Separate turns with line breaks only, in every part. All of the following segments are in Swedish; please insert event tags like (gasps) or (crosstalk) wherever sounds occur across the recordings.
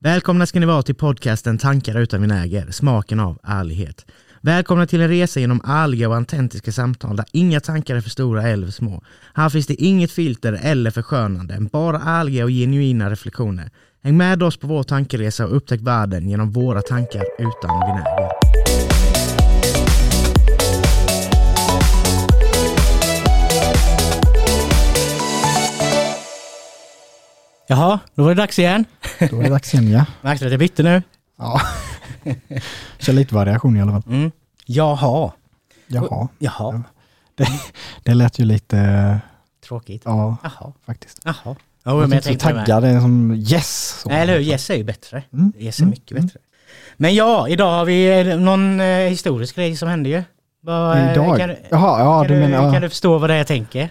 Välkomna ska ni vara till podcasten Tankar utan vinäger, smaken av ärlighet. Välkomna till en resa genom ärliga och autentiska samtal där inga tankar är för stora eller för små. Här finns det inget filter eller förskönande, bara ärliga och genuina reflektioner. Häng med oss på vår tankeresa och upptäck världen genom våra tankar utan vinäger. Jaha, då var det dags igen.
Då är det dags igen ja.
Märkte du att jag bytte nu?
ja. (laughs) Kör lite variation i alla fall.
Mm. Jaha.
Jaha.
Jaha.
Det, det lät ju lite,
Tråkigt.
ja
Jaha.
faktiskt.
Jaha. Jo, men jag
inte så
tänkte det med.
taggad, det är som yes. Så.
Nej, eller hur? Yes är ju bättre.
Mm,
Yes är
mm,
mycket bättre. Men ja, idag har vi eh, någon eh, historisk grej som hände ju. Vad, eh,
Idag.
Kan, du-
Jaha, ja
kan,
du
du,
menar,
kan
ja.
du förstå vad det är jag tänker?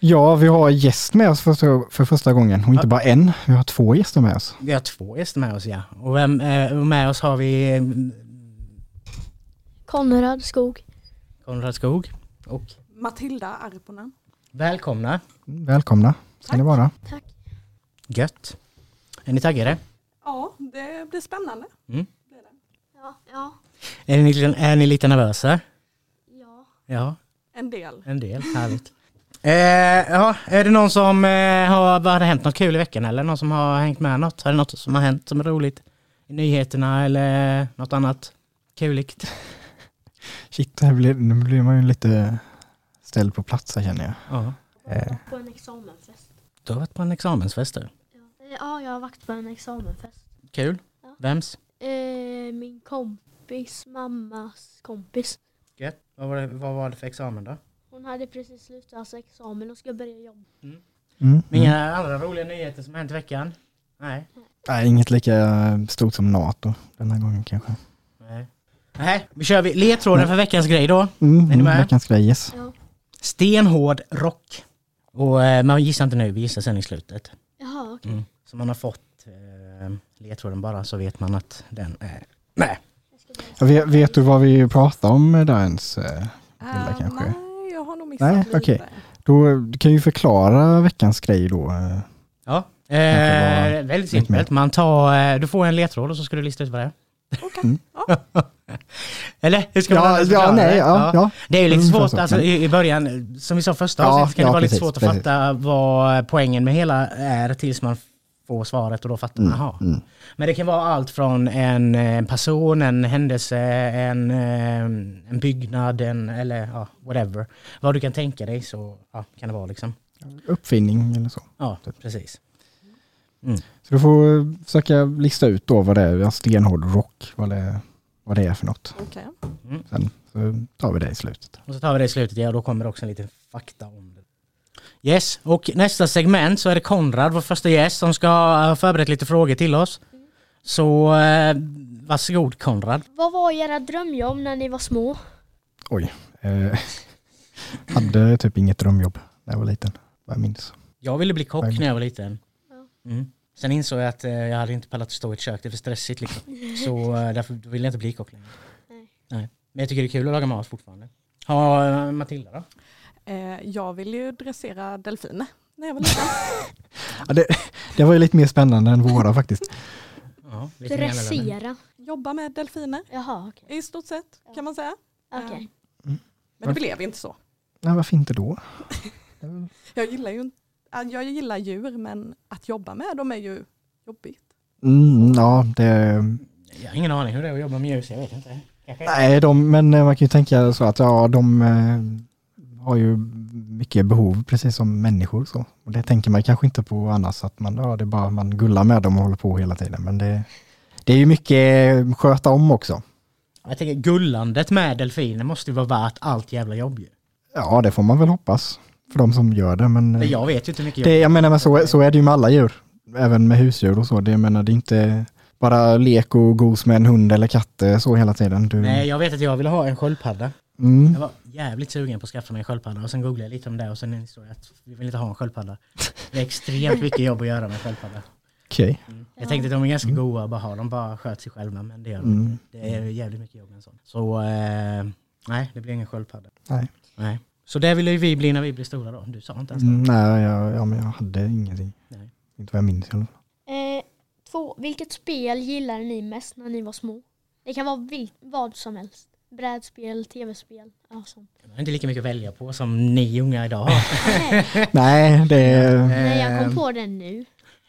ja vi har gäst med oss för, för första gången och inte bara en, vi har två gäster med oss.
Vi har två gäster med oss ja. Och vem, eh, och med oss har vi eh,
Konrad Skog.
Konrad Skog. Och
Matilda Arponen.
välkomna.
Välkomna ska ni vara.
Tack.
Gött. Är ni taggade?
Ja, det blir spännande.
Ja. Ja.
Är ni, är ni lite nervösa?
Ja.
Ja,
En del.
en del. Härligt. (laughs) Eh, ja, är det någon som eh, har, vad har det hänt något kul i veckan eller någon som har hängt med något? Har det något som har hänt som är roligt i nyheterna eller något annat kuligt?
Shit, här blir, nu blir man ju lite ställd på plats här känner jag.
Ja.
Eh,
På en examenfest.
Du har varit på en examensfest du.
Ja, Eh, ja jag har varit på en examenfest.
Kul.
Ja.
Vems?
Eh, min kompis mammas kompis.
Gött. Vad var, det, vad var det för examen då?
Hon hade precis slutat sin examen och ska börja jobba.
mm, mm.
Inga andra roliga nyheter som har hänt i veckan? Nej.
Nej, inget lika stort som NATO den här gången kanske.
Nej. Nej, vi kör vi ledtråden för veckans grej då.
Mm,
ni
mm,
med?
veckans grej, yes.
Ja.
Stenhård rock. Och eh, man gissar inte nu, vi gissar sen i slutet.
Jaha, okej.
Mm. Så man har fått eh, ledtråden bara så vet man att den är med.
Jag ska börja-
Ja, Vet, vet du vad vi pratar om där ens? eh? Matilda
Eh,
kanske.
nej, jag har nog missat
Nej,
lite.
okej. Då du kan ju förklara veckans grej då. eh.
Ja, eh,
Kanske var
väldigt
lite
simpelt. Man tar, eh, du får en ledtråd och så ska du lista ut vad det är.
Okej,
Mm.
ja.
(laughs) Eller hur ska man
Ja,
annars
ja,
förklara
nej,
det?
ja, ja.
Det är ju lite
Mm,
svårt,
så,
alltså,
men-
i, i början, som vi sa första
Ja,
avsnittet, kan
ja,
det vara lite
precis,
svårt att
precis.
fatta vad poängen med hela är tills man får svaret och då fattar man, jaha.
mm.
Men det kan vara allt från en eh, person, en händelse, en, eh, en byggnad, en, eller ja, whatever. Vad du kan tänka dig så ja, kan det vara liksom.
Uppfinning eller så.
Ja, precis.
Så du får eh, försöka lista ut då vad det är, ja, stenhård rock, vad det, vad det är för något.
okej.
Sen så tar vi det i slutet.
Mm. Och så tar vi det i slutet, ja då kommer också en liten fakta om det. Yes, och nästa segment så är det Konrad, vår första gäst, som ska ha förberett lite frågor till oss. Så eh, varsågod Konrad.
Vad var era drömjobb när ni var små?
Eh, (laughs) hade typ inget drömjobb när jag var liten, vad jag minns.
Jag ville bli kock
Tack.
när jag var liten. Mm. Sen insåg jag att eh, jag hade inte pallat att stå i ett kök, det är för stressigt liksom. Så eh, därför ville jag inte bli kock längre.
Nej.
Nej. Men jag tycker det är kul att laga mat fortfarande. Ja, eh, Matilda då?
Eh, jag vill ju dressera delfiner när jag
(laughs)
var liten.
Ja, det, det var ju lite mer spännande än våra faktiskt.
Ja, lite mer eller mindre.
Dressera.
Jobba med delfiner
Jaha, okej.
i stort sett kan man säga.
Okej.
Eh, Men det blev inte så.
Nej, varför inte då? Det är väl-
Jag gillar ju inte- ja, jag gillar djur men att jobba med dem är ju jobbigt.
Mm, ja, det,
Jag har ingen aning hur det är att jobba med ljus, jag vet inte. Kanske.
Nej, de, men eh, man kan ju tänka så att ja, de eh, har ju mycket behov, precis som människor. Så. Och det tänker man kanske inte på annars, att man, ja, det är bara man gullar med dem och håller på hela tiden. Men det, det är ju mycket eh, sköta om också.
Jag tänker gullandet med delfiner måste ju vara värt allt jävla jobb ju.
Ja, det får man väl hoppas för de som gör det. Men, eh,
Men jag vet ju inte hur mycket jobb.
det, jag menar, men så, så är det ju med alla djur, även med husdjur och så. Det, jag menar, det är inte bara lek och gos med en hund eller katt eh, så hela tiden. Du,
Nej, jag vet att jag ville ha en sköldpadda.
mm.
Jag var jävligt sugen på att skaffa mig en sköldpadda och sen googlade jag lite om det och sen insåg jag att vi vill inte ha en sköldpadda. Det är extremt mycket jobb att göra med en sköldpadda.
Okej.
Jag tänkte att de är ganska goa att bara ha, de bara sköter sig själva men det gör de
Mm.
inte. Det är jävligt mycket jobb med en sån. Så eh, nej, det blir ingen sköldpadda.
Nej.
nej. Så det ville ju vi bli när vi blir stora då. Du sa inte ens det.
Mm, nej, jag, ja, men jag hade ingenting.
Nej.
Inte vad jag minns i alla fall. (laughs)
Eh, Två, vilket spel gillade ni mest när ni var små? Det kan vara vil- vad som helst. Brädspel, tv-spel, ja, sånt.
(laughs) Jag har inte lika mycket att välja på som ni unga idag
(laughs)
har.
Nej,
Nej, det är...
nej, jag
Ehm,
kom på den nu.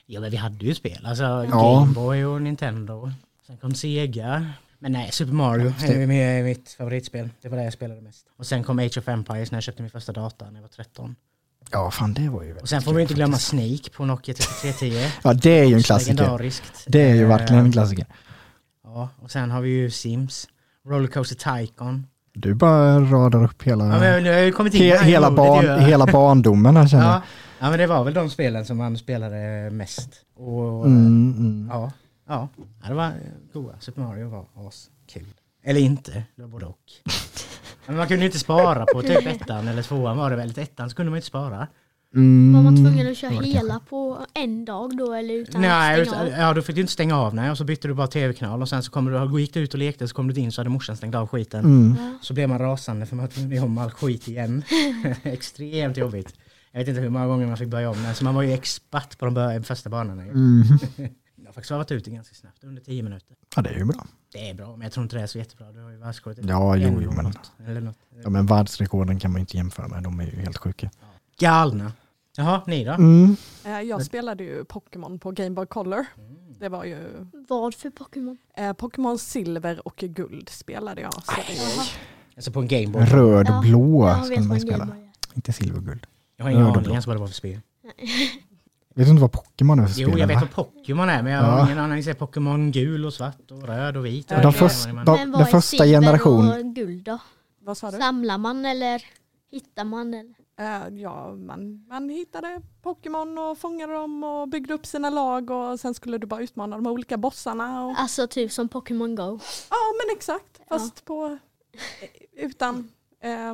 Ja men vi hade ju spel, alltså Gameboy och Nintendo. Sen kom Sega. Men nej, Super Mario är ju mer mitt favoritspel. Det var det jag spelade mest. Och sen kom Age of Empires när jag köpte min första dator när jag var 13.
Ja, fan det var ju väldigt
Och sen får vi
kul
inte glömma
faktiskt.
Snake på Nokia
(laughs)
3310.
Ja, det är ju en klassiker.
Legendariskt.
Det är ju
Eh,
verkligen en klassiker.
Ja, och sen har vi ju Sims. Rollercoaster Tycoon.
Du bara radar
Ja,
upp hela,
men nu har jag ju kommit in
he, Mm.
här i
hela,
modet, det
barn,
gör jag.
hela barndomen här känner jag.
Ja. ja, men det var väl de spelen som man spelade mest. Och,
Mm, mm.
Ja, ja. ja, det var eh, goa. Super Mario var askul. Eller inte, det var både
(laughs)
och. Men man kunde ju inte spara på typ ettan eller tvåan var det väl. Ettan så kunde man ju inte spara.
Var man
Mm.
tvungen att köra hela på en dag då eller utan
Nej,
att stänga
ut-
av?
ja, då fick du inte stänga av nej, och så bytte du bara tv-kanal och sen så kommer du, gick du ut och lekte så kom du in så hade morsan stängt av skiten.
Mm.
Så blev man rasande för man tvungen att göra om all skit
(laughs)
igen. Extremt jobbigt. Jag vet inte hur många gånger man fick börja om den, så man var ju expert på de bör- första banorna. ju.
Mm.
Jag har faktiskt varit ute ganska snabbt, under 10 minuter.
Ja, det är ju bra.
Det är bra, men jag tror inte det är så jättebra. Du har ju världsrekordet.
Ja, jo,
Eller
jo, men,
något, Eller något.
ja, men världsrekorden kan man ju inte jämföra med. De är ju helt sjuka.
Galna. Jaha, ni då?
Mm.
Eh, Jag spelade ju Pokémon på Game Boy Color.
Mm.
Det var ju
Vad för Pokémon?
eh, Pokémon silver och guld spelade jag. Så det,
Jaha,
Alltså på en Gameboy.
Röd
Ja,
och blå
jag
skulle
vet
man
vad
ju
en
spela.
Gameboy är.
Inte silverguld.
Jag har ingen
Röd och
aning
blå.
ens vad det var för spel.
Vet du inte vad Pokémon är för
Jo,
spel?
jag vet
va?
vad Pokémon är, men jag har
Ja.
ingen aning. Jag ser Pokémon gul och svart och röd och vit. Och
Ja,
de
det-
först,
Men-
de,
Men vad
den
är
första
silver
generationen...
och guld då?
vad sa du?
Samlar man eller hittar man? Eller?
Eh, Ja, man, man hittade Pokémon och fångade dem och byggde upp sina lag och sen skulle du bara utmana de olika bossarna. Och,
Alltså typ som Pokémon
(laughs)
Go.
ja men exakt, fast på utan eh,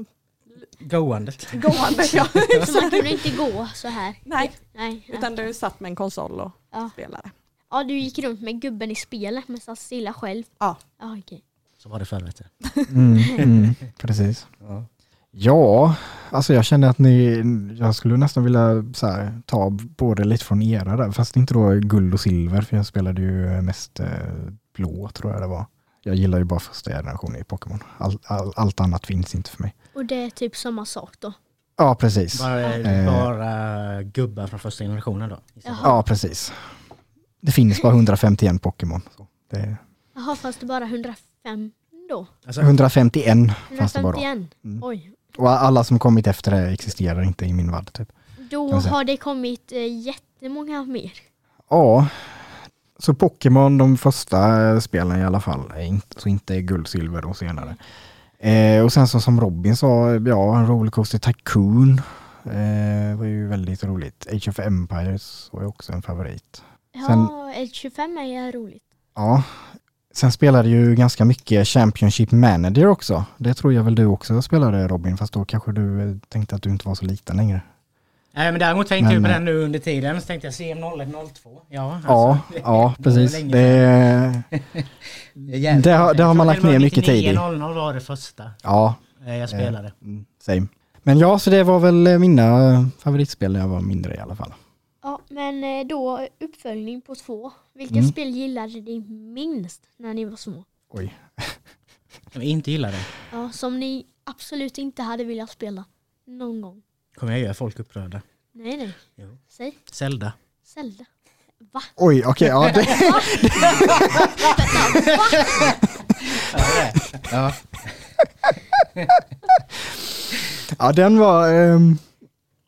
Goandet.
gående.
(laughs)
Ja,
Så man kunde inte gå så här.
nej,
Nej. ja.
utan du satt med en konsol och
Ja.
spelade.
Ja, du gick runt med gubben i spelet men satt stilla själv.
Ja.
Ja, okej.
Så var det förr, vet du.
Mm, mm, precis.
Ja.
Ja, alltså jag känner att ni, jag skulle nästan vilja så här, ta både lite från era där, fast inte då guld och silver, för jag spelade ju mest eh, blå tror jag det var. Jag gillar ju bara första generationen i Pokémon. All, all, allt annat finns inte för mig.
Och det är typ samma sak då.
Ja, precis.
Bara,
Eh.
bara gubbar från första generationen då.
Jaha.
Ja, precis. Det finns bara 151 Pokémon. Så det är
Jaha, fanns det bara 105 då?
Alltså,
151 fanns det bara då.
151?
Mm.
Oj.
Och alla som kommit efter det existerar inte i min värld. Typ.
Då
Kan man säga.
har det kommit eh, jättemånga mer.
Ja, så Pokémon, de första eh, spelen i alla fall, är inte, så inte guld, silver och senare. Eh, och sen så som Robin sa, ja, en Rollercoaster Tycoon eh, var ju väldigt roligt. Age of Empires var ju också en favorit. Sen-
Ja, ett 25 är ju roligt.
Ja, sen spelade ju ganska mycket Championship Manager också. Det tror jag väl du också spelade Robin, fast då kanske du eh, tänkte att du inte var så liten längre.
Nej, men däremot tänkte jag på
Men, eh.
den nu under tiden. Så tänkte jag CM0102. Ja, alltså,
Ja, ja
(laughs) det var
precis.
länge
Det,
det är jävligt
det
länge
har- det har
sedan. Jag
man lagt
tror det
ner
var
mycket tid i.
99.00 var det första
ja,
eh, jag spelade.
Mm, Same. Men ja, så det var väl eh, mina eh, favoritspel när jag var mindre i alla fall.
Ja, men eh, då uppföljning på två. Vilka
Mm.
spel gillade ni minst när ni var små?
Oj.
Som jag inte gillade.
Ja, som ni absolut inte hade velat spela någon gång.
Kommer jag göra folk upprörda.
Nej, nej.
Jo.
Säg
Zelda.
Zelda.
Oj, okej. ja, det, (laughs)
Ja.
(laughs) ja, den var... ehm,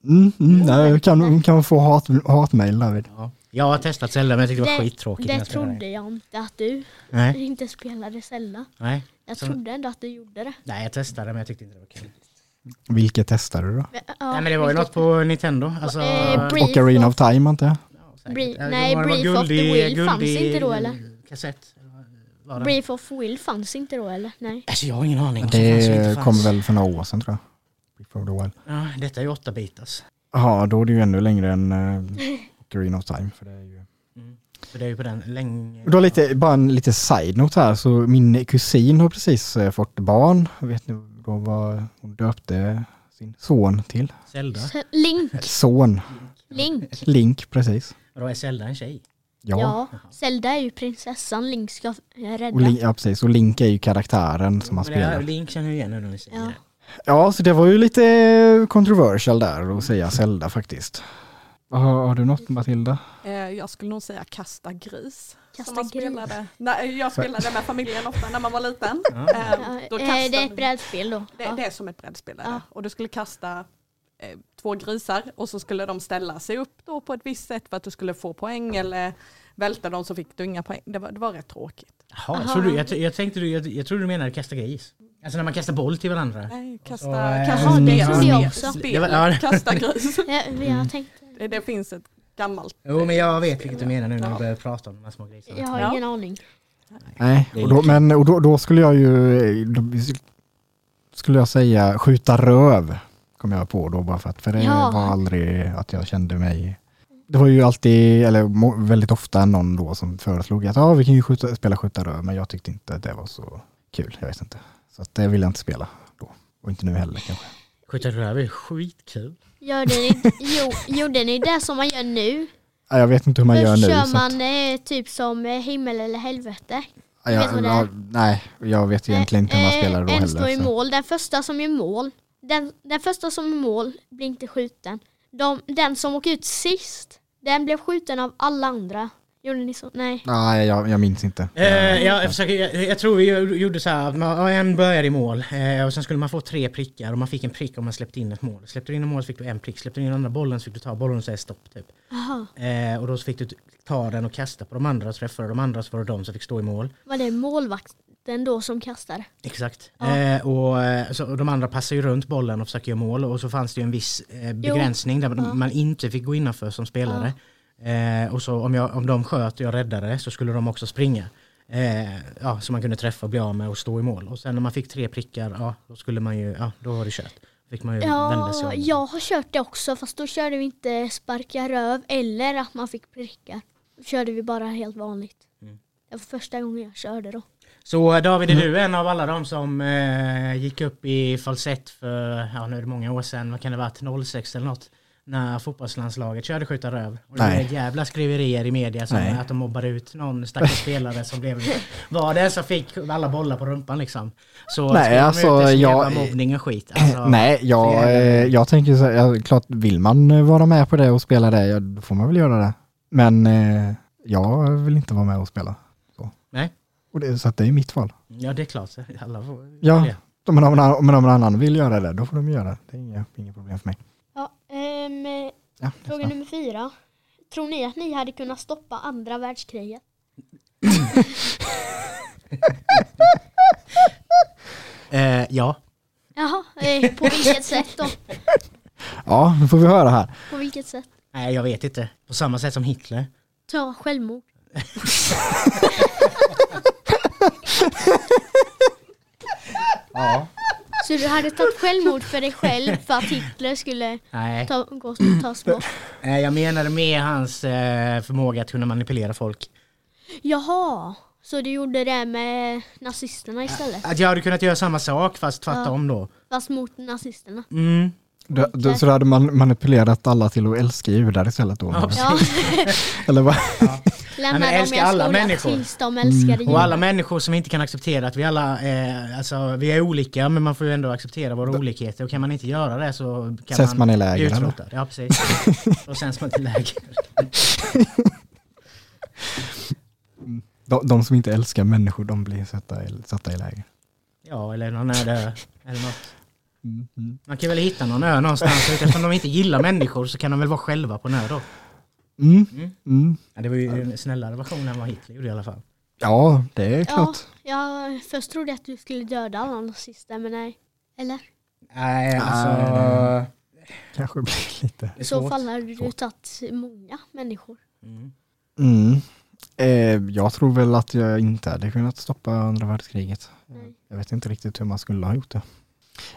mm, mm, nej, kan, kan få hat, hatmail David.
Ja. Jag har testat Zelda men jag tyckte det var
Det-
skittråkigt. när
Det
jag spelade det.
trodde jag inte att du
Nej,
inte spelade Zelda.
nej.
Jag
Så-
trodde ändå att du gjorde det.
nej, jag testade men jag tyckte inte det var kul.
Vilket testade du då?
Men, ja,
nej, men det var ju
vilket-
något på Nintendo. Alltså,
Eh, Brief
Ocarina of Time antar jag?
ja, säkert.
Brief-
Ja,
nej,
det var
Brief of the
guldig-
Wheel fanns
guldig
inte då, eller?
Kassett. Var det?
Brief of Will fanns inte då eller? Nej.
Alltså jag har ingen aning. om som fanns och inte
Det
fanns.
kom väl för några år sedan tror jag. Before the Wild.
Ja, detta är ju 8-bitars.
Ja, då är det ju ännu längre än uh, Ocarina of Time. För det är ju...
Så det är ju på den länge.
Då lite, bara en lite side-note här, så min kusin har precis eh, fått barn. Vet ni då vad hon döpte sin son till?
Zelda.
Så, Link,
Son,
Link.
Link precis.
Och då är Zelda en tjej.
Ja.
Zelda är ju prinsessan Link ska eh, rädda.
Och Link, ja, precis. Och Link är ju karaktären som man
Men det här
spelar.
Link känner jag igen nu när ni säger
Ja.
det.
Ja, så det var ju lite controversial där att säga Zelda faktiskt. Har, har du något Matilda?
Eh, jag skulle nog säga kasta gris.
Kasta
som man
gris.
Spelade. Nej, jag spelade med familjen ofta när man var liten.
Ja.
Eh,
Ja,
då
eh,
kastade
det är ett
vi-
brädspel då.
Det,
ja.
det är som ett brädspel. är det.
Ja.
Och du skulle kasta eh, två grisar och så skulle de ställa sig upp då på ett visst sätt för att du skulle få poäng eller välta dem så fick du inga poäng. Det var, det var rätt tråkigt.
Jaha, jag, trodde, jag, jag, tänkte, du- jag, jag trodde du menade kasta gris. Alltså när man kastar boll till varandra.
Nej, kasta,
Och så, eh,
kasta
ja, det
spel.
trodde jag också.
Spel,
Det var- ja, det-
kasta gris.
Ja, vi
Mm.
har tänkt.
Det, det finns ett gammalt.
Jo men jag vet vilket du menar nu när vi börjar prata om de här små grisarna.
Jag har
Ja.
ingen aning.
Nej, och då, men och då, då skulle jag ju, då skulle jag säga skjuta röv, kom jag på då bara för att, för det
Ja.
var aldrig att jag kände mig det var ju alltid, eller må- väldigt ofta någon då som föreslog att ja, vi kan ju skjuta, spela skjuta röv, men jag tyckte inte att det var så kul, jag vet inte. Så att det vill jag inte spela då, och inte nu heller kanske.
Skjuta röv är skitkul.
Gör ni, jo, gjorde ni det som man gör nu?
Ja, Jag vet inte hur man
Först
gör nu.
kör
så att,
man eh, typ som eh, himmel eller helvete.
Ja, jag,
vet vad det
ja,
är.
nej, jag vet egentligen inte hur man
Eh,
spelar då
En
heller.
står i
så-
mål, den första som gör mål. Den, den första som gör mål blir inte skjuten. De, den som åker ut sist, den blev skjuten av alla andra. Gjorde ni så? Nej.
Nej, jag, jag minns inte.
Eh, jag, jag, försöker, jag, jag tror vi gjorde så här att man, ja, en började i mål eh, och sen skulle man få tre prickar och man fick en prick om man släppte in ett mål. Släppte du in ett mål så fick du en prick, släppte du in den andra bollen så fick du ta bollen och säga stopp typ.
Aha.
Eh, och då så fick du t- ta den och kasta på de andra och träffade de andra så var det de som fick stå i mål.
Var det målvakten då som kastade?
Exakt.
Ja.
Eh, och, eh, så, och de andra passar ju runt bollen och försöker göra mål och så fanns det ju en viss eh, begränsning där
Ja.
man inte fick gå innanför som spelare. Eh, och så om, jag, om de sköt och jag räddade så skulle de också springa. Eh, ja, så man kunde träffa och bli av med och stå i mål. Och sen när man fick tre prickar, ja då skulle man ju, ja då var det kört. Fick man ju vända sig
Ja,
om.
jag har kört det också fast då körde vi inte sparka röv eller att man fick prickar. Då körde vi bara helt vanligt.
Mm.
Det var första gången jag körde då.
Så eh, David,
Mm.
är du en av alla de som eh, gick upp i falsett för, ja nu är det många år sedan, vad kan det ha varit, 06 eller något? När fotbollslandslaget körde skjuta röv. Och det
Nej.
blev jävla skriverier i media som
Nej.
att de mobbade ut någon stackars spelare som blev,
(laughs)
var den som fick alla bollar på rumpan liksom. Så
Nej,
skrev de
alltså,
ut det som
jag-
jävla mobbning och skit. Alltså,
(clears throat) Nej, jag,
jävla-
eh, jag tänker så här, ja, klart vill man eh, vara med på det och spela det, ja, då får man väl göra det. Men eh, jag vill inte vara med och spela. Så,
Nej.
och det, så att det är mitt val.
Ja det är klart, alla får
Ja.
det.
Men om, någon- om någon annan vill göra det, då får de göra det. Det är inga, inga problem för mig.
Ja, ehm,
Ja,
Fråga nummer fyra. Tror ni att ni hade kunnat stoppa andra världskriget?
Eh, ja.
Jaha, eh, på vilket (laughs) sätt då?
ja, nu får vi höra här.
På vilket sätt?
Nej jag vet inte. På samma sätt som Hitler.
Ta
(laughs)
självmord.
Ja.
Så du hade tagit självmord för dig själv för att Hitler skulle
Nej.
ta, gå och tas bort?
Eh, jag menade med hans eh, förmåga att kunna manipulera folk.
Jaha, så du gjorde det med nazisterna istället?
Att jag hade kunnat göra samma sak fast tvärtom då.
Fast mot nazisterna?
Mm.
Då, då, så då hade man manipulerat alla till att älska judar istället då?
Ja,
Ja,
Eller vad?
lämna
men
dem i en
älska alla
skola
människor. Mm.
tills de älskade
Och alla
judar.
människor som inte kan acceptera att vi alla eh, alltså, vi är olika men man får ju ändå acceptera våra olikheter och kan man inte göra det så kan
Sätts man i läger,
bli
eller?
utrotad. Ja
(laughs)
precis. och sen man till läger.
De, de som inte älskar människor, de blir satta i, satta i läger.
Ja eller någon öde eller något.
Mm, mm.
Man kan väl hitta någon ö någonstans och eftersom de inte gillar människor så kan de väl vara själva på en ö då.
Mm.
Mm.
Mm.
Ja, det var ju en snällare version än vad Hitler gjorde i alla fall.
Ja, det är klart.
Ja, jag först trodde jag att du skulle döda alla nazister, men nej. Eller?
Nej alltså.
Nej. Kanske blir lite...
det är
I så
svårt.
fall hade du
Svårt.
tagit många människor.
Mm.
Mm. Eh, jag tror väl att jag inte hade kunnat stoppa andra världskriget.
Nej.
Jag vet inte riktigt hur man skulle ha gjort det.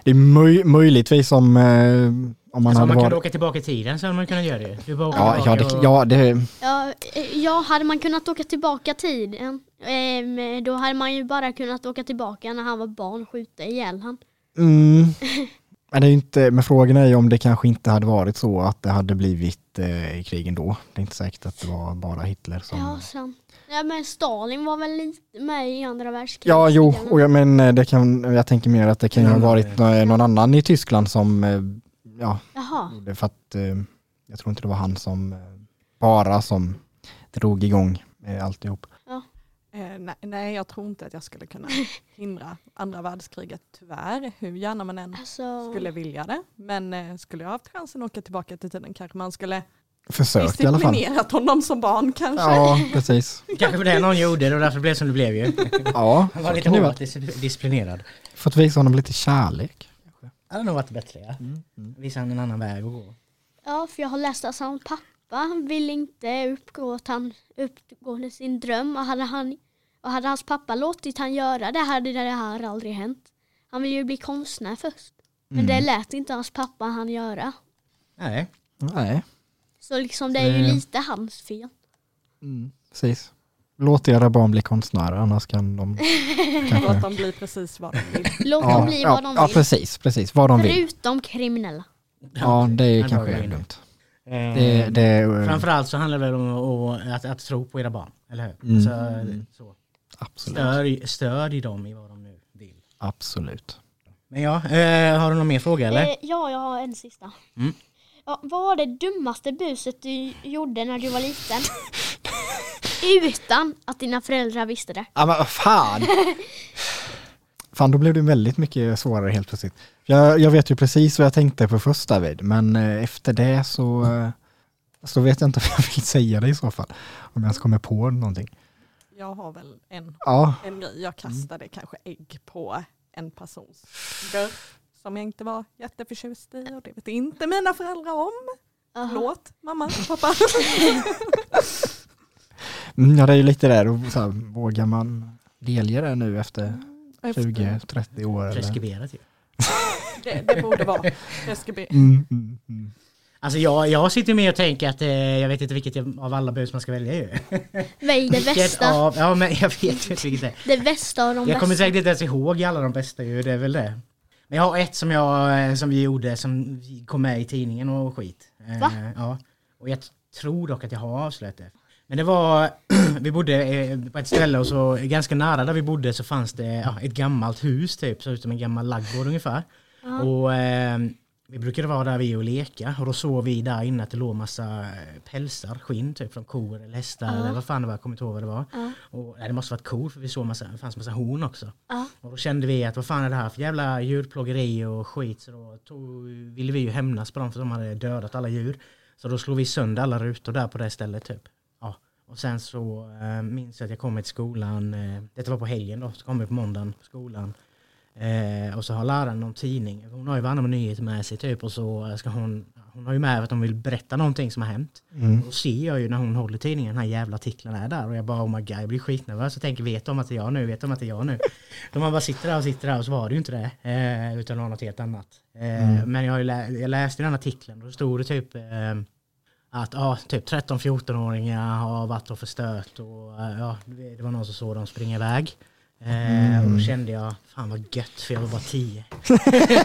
Det är möj- möjligtvis om, eh, om
Alltså, om
man hade
man kunde
varit...
åka tillbaka i tiden så hade man kunnat göra det. Du bara åker
Ja, ja,
tillbaka
det,
och-
ja, det,
Ja, eh, ja, hade man kunnat åka tillbaka tiden, ehm, (laughs) då hade man ju bara kunnat åka tillbaka när han var barn och skjuta ihjäl han.
mm, Men, det är ju inte, men frågan är ju om det kanske inte hade varit så att det hade blivit eh, krig ändå. Det är inte säkert att det var bara Hitler som...
Ja, sen. Ja, men Stalin var väl lite med i andra världskriget?
Ja, jo,
eller
och jag, men eh, det kan, jag tänker mer att det kan ju ha
Ja,
varit nå- någon annan i Tyskland som, eh, ja,
Jaha.
gjorde för att eh, jag tror inte det var han som, eh, bara som drog igång eh, alltihop.
Eh, nej, nej, jag tror inte att jag skulle kunna hindra andra världskriget, tyvärr. Hur gärna man än
Alltså,
skulle vilja det. Men eh, skulle jag haft chansen att åka tillbaka till tiden kanske man skulle
Försökt i alla fall.
disciplinerat honom som barn kanske.
Ja, precis.
Kanske för (laughs) det någon gjorde, det var därför det blev som det blev
(laughs)
ju.
Ja,
Han var
så
lite
kan det vara.
hårt dis- disciplinerad.
Fått visa honom lite kärlek.
Det hade nog varit bättre ja.
Mm,
Visa han en annan väg att gå.
ja, för jag har läst att hans pappa ville inte uppgå, att han uppgå till sin dröm. Och hade, han, och hade hans pappa låtit han göra det hade det här aldrig hänt. Han ville ju bli konstnär först. Men
Mm.
det lät inte hans pappa han göra.
Nej.
Nej,
Så liksom det är ju
Mm.
lite hans fel.
precis. Låt era barn bli konstnärer, annars kan
(laughs)
de...
Låt
Mm.
dem bli precis vad de vill.
Låt dem bli
ja,
vad de
ja,
vill.
precis, precis. Vad de vill.
Förutom kriminella.
Ja, det är ju
Han var
kanske
ju-
dumt.
Eh,
Det, det, är-
Framförallt så handlar det väl om att, att, att tro på era barn, eller hur?
Mm.
Så, så.
absolut.
Stör, stödj dem i vad de nu vill.
absolut.
Men ja, eh, har du någon mer fråga eller?
Eh, ja, jag har en sista.
Mm.
Ja, vad var det dummaste buset du gjorde när du
(laughs)
var liten? Utan att dina föräldrar visste det.
Ja men vad fan! (laughs) fan då blev det väldigt mycket svårare helt plötsligt. Jag, jag vet ju precis vad jag tänkte på först David, men eh, efter det så, eh, så vet jag inte (laughs) vad jag vill säga det i så fall. Om jag ens kommer på någonting.
Jag har väl en,
Ja,
en grej. Jag kastade
Mm.
kanske ägg på en persons dörr som jag inte var jätteförtjust i och det vet inte mina föräldrar om.
Jaha.
Låt mamma
(laughs)
och pappa.
mm, ja det är ju lite där, och så här, vågar man delge det nu efter
Efter-
20-30 år? Eller?
Preskriberat ju.
Det, det borde vara. Det ska bli.
Mm, mm, mm.
Alltså jag, jag sitter med och tänker att eh, jag vet inte vilket av alla bus man ska välja ju.
Välj det
Vilket
bästa.
Av, ja men jag vet ju inte vilket det är.
Det bästa av de
Jag kommer
bästa.
säkert inte ens ihåg alla de bästa ju, det är väl det. Men jag har ett som, jag, eh, som vi gjorde som vi kom med i tidningen och skit. Eh,
Va?
Ja. Och jag t- tror dock att jag har avslöjat det. Men det var, (clears throat) vi bodde eh, på ett ställe och så ganska nära där vi bodde så fanns det ja, ett gammalt hus typ, såg ut som en gammal laggård ungefär. Och eh, vi brukade vara där vi och leka och då såg vi där inne att det låg massa eh, pälsar, skinn typ från kor eller hästar eller vad fan det var, jag kommer inte ihåg vad det var.
Ja.
Och, nej, det måste varit kor för vi såg massa, det fanns massa horn också.
Ja.
Och då kände vi att vad fan är det här för jävla djurplågeri och skit. Så då tog, ville vi ju hämnas på dem för de hade dödat alla djur. Så då slog vi sönder alla rutor där på det stället typ. Ja. Och sen så eh, minns jag att jag kom till skolan, eh, detta var på helgen då, så kom vi på måndagen på skolan. Eh, och så har läraren någon tidning, hon har ju varandra med nyheter med sig typ och så ska hon, hon har ju med att de vill berätta någonting som har hänt.
mm,
Och då ser jag ju när hon håller tidningen, den här jävla artikeln är där och jag bara oh my god, jag blir skitnervös och tänker vet de att det är jag nu, vet de att det är jag nu? De man bara sitter där och sitter där och så var det ju inte det, eh, utan det var något helt annat. Eh, Men jag, har ju lä- jag läste den artikeln och då stod det typ eh, att ja, typ 13-14-åringar har varit och förstört och eh, ja, det var någon som såg dem springa iväg. Eh, Och då kände jag, fan vad gött för jag var bara 10.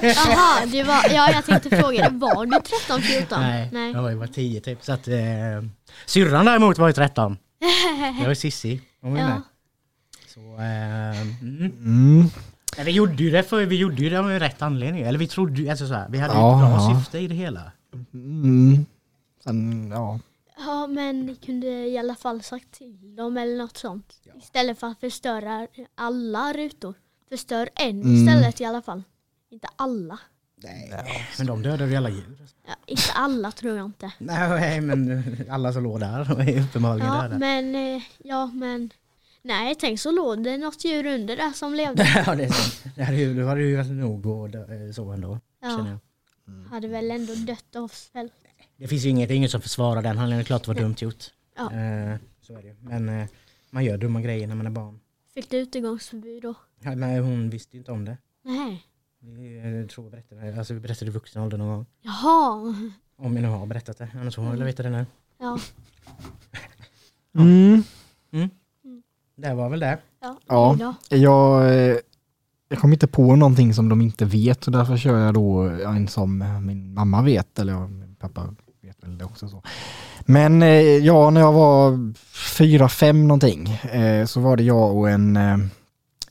Jaha, du var, ja, jag tänkte fråga dig. Var du 13, 14?
Nej, jag var ju bara 10 typ. Så att, eh, syrran däremot var ju
(laughs)
13. Jag var Sissi, hon var ju
Ja.
med. Så, eh, mm.
Mm.
Men vi gjorde ju det för vi gjorde ju det av en rätt anledning. Eller vi trodde ju, alltså så här, vi hade ju
Ja,
ett bra
ja.
syfte i det hela.
Mm. Sen, ja.
Ja, men ni kunde i alla fall sagt till dem eller något sånt. Istället för att förstöra alla rutor. Förstör en
Mm.
istället i alla fall. Inte alla.
Men de dödade ju alla djur.
Ja, inte alla tror jag inte.
Nej men alla som låg där var ju uppenbarligen
Ja
döda.
men, eh, ja men Nej tänk så låg det något djur under där som levde.
(laughs) ja det är sant. Det hade ju, det hade ju varit nog och dö- eh, så ändå. Känner
Ja,
jag.
hade väl ändå dött av svält.
Det finns ju inget, inget som försvarar den handlingen, det är klart det var dumt gjort.
Ja.
Eh, så är det ju. Men eh, man gör dumma grejer när man är barn.
Fick du utegångsförbud då?
Ja, Nej, hon visste ju inte om det.
Nej.
Vi eh, tror jag berättade, alltså vi berättade i vuxen ålder någon gång.
Jaha.
Om jag nu har berättat det, annars får hon väl veta det nu.
Ja.
Mm.
Det var väl det.
Ja.
Ja.
Då.
Jag, eh, Jag kom inte på någonting som de inte vet och därför kör jag då en som min mamma vet eller ja, min pappa vet väl det också. Så. Men eh, ja, när jag var fyra, fem någonting eh, så var det jag och en eh,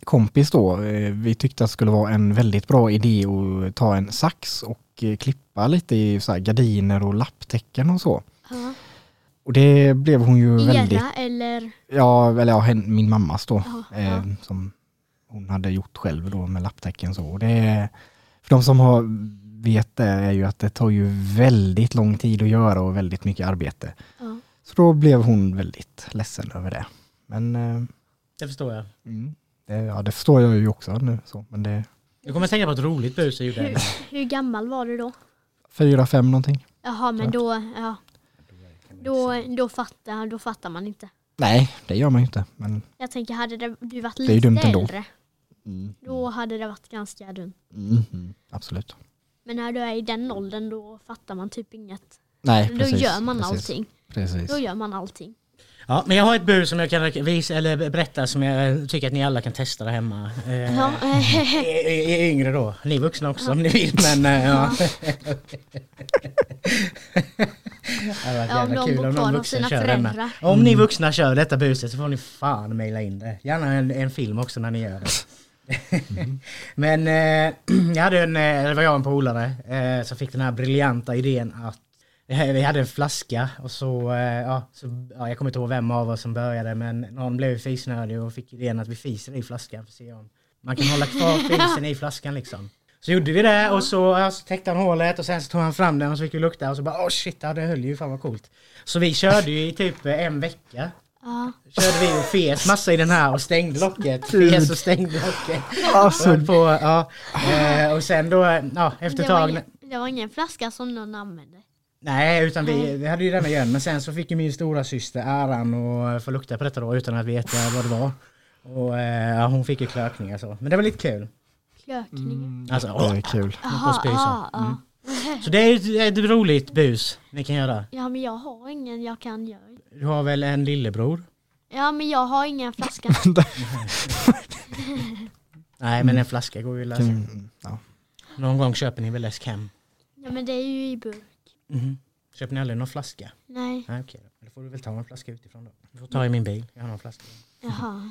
kompis då. Eh, vi tyckte att det skulle vara en väldigt bra idé att ta en sax och eh, klippa lite i så här gardiner och lapptäcken och så.
Ja.
Och det blev hon ju väldigt
Era eller?
Ja, eller ja, hen- min mammas då.
Ja,
eh,
ja.
Som hon hade gjort själv då med lapptäcken så. Och det, är- för de som har, vet det är ju att det tar ju väldigt lång tid att göra och väldigt mycket arbete.
Ja.
Så då blev hon väldigt ledsen över det. Men eh,
Det förstår jag.
mm, det, ja, det förstår jag ju också nu. Så. Men det är
Jag kommer att tänka på ett roligt bus jag gjorde. (laughs)
Hur, hur gammal var du då?
fyra, fem någonting.
Jaha, men då, ja. då, då, fattar, då fattar man inte.
Nej, det gör man ju inte. Men,
Jag tänker, hade det, du varit
är ju
lite
dumt ändå.
äldre,
mm,
då hade det varit ganska dumt.
mm, mm, absolut.
Men när du är i den åldern, då fattar man typ inget.
Nej,
Då
precis,
gör man
precis,
allting.
Precis.
Då gör man allting.
Ja, men jag har ett bus som jag kan rek- visa, eller berätta som jag tycker att ni alla kan testa där hemma. Eh,
Ja, eh,
i- i- i Yngre då. Ni är vuxna också om ni vill men eh, ja. (laughs) Det hade varit
(laughs) ja, om
(laughs) jävla
de
kul
bor
om någon
kvar hos
vuxen
sina
kör denna.
föräldrar.
Om ni vuxna kör detta buset så får ni fan mejla in det. Gärna en, en film också när ni gör det. (laughs) Men eh, (clears throat) jag hade en, eh, eller var jag en polare eh, som fick den här briljanta idén att eh, vi hade en flaska och så, eh, ja, så ja, jag kommer inte ihåg vem av oss som började men någon blev fisnödig och fick idén att vi fiser i flaskan för att se om man kan hålla kvar fisen i flaskan liksom. Så gjorde vi det och så, ja, så täckte han hålet och sen så tog han fram den och så fick vi lukta och så bara åh shit, ja, det höll ju, fan vad coolt. Så vi körde ju i typ eh, en vecka
Ja.
körde vi och fes massa i den här och stängde locket. Fes och stängde locket. Och,
Alltså, ah.
höll på, ja. Eh, och sen då, eh, ja, efter
Det,
ett
var
tag.
ingen, det var ingen flaska som någon använde.
Nej, utan vi, vi hade ju denna igen. Men sen så fick ju min stora syster äran och få lukta på detta då utan att veta vad det var. Och eh, ja, hon fick ju klökningar så. Men det var lite kul.
Klökning.
Alltså,
det
åh.
är kul.
på spy så.
ja, ja.
Så det är ju ett, ett roligt bus ni kan göra.
ja, men jag har ingen jag kan göra.
Du har väl en lillebror?
Ja, men jag har ingen flaska.
Nej, men en flaska går ju att lösa.
Mm, ja.
Någon gång köper ni väl läsk hem?
Ja, men det är ju i burk.
Mm-hmm.
Mhm. Köper ni aldrig någon flaska?
Nej,
Nej, okej. då. Men Då får du väl ta en flaska utifrån då. Du får ta i min bil. Jag har någon flaska.
jaha.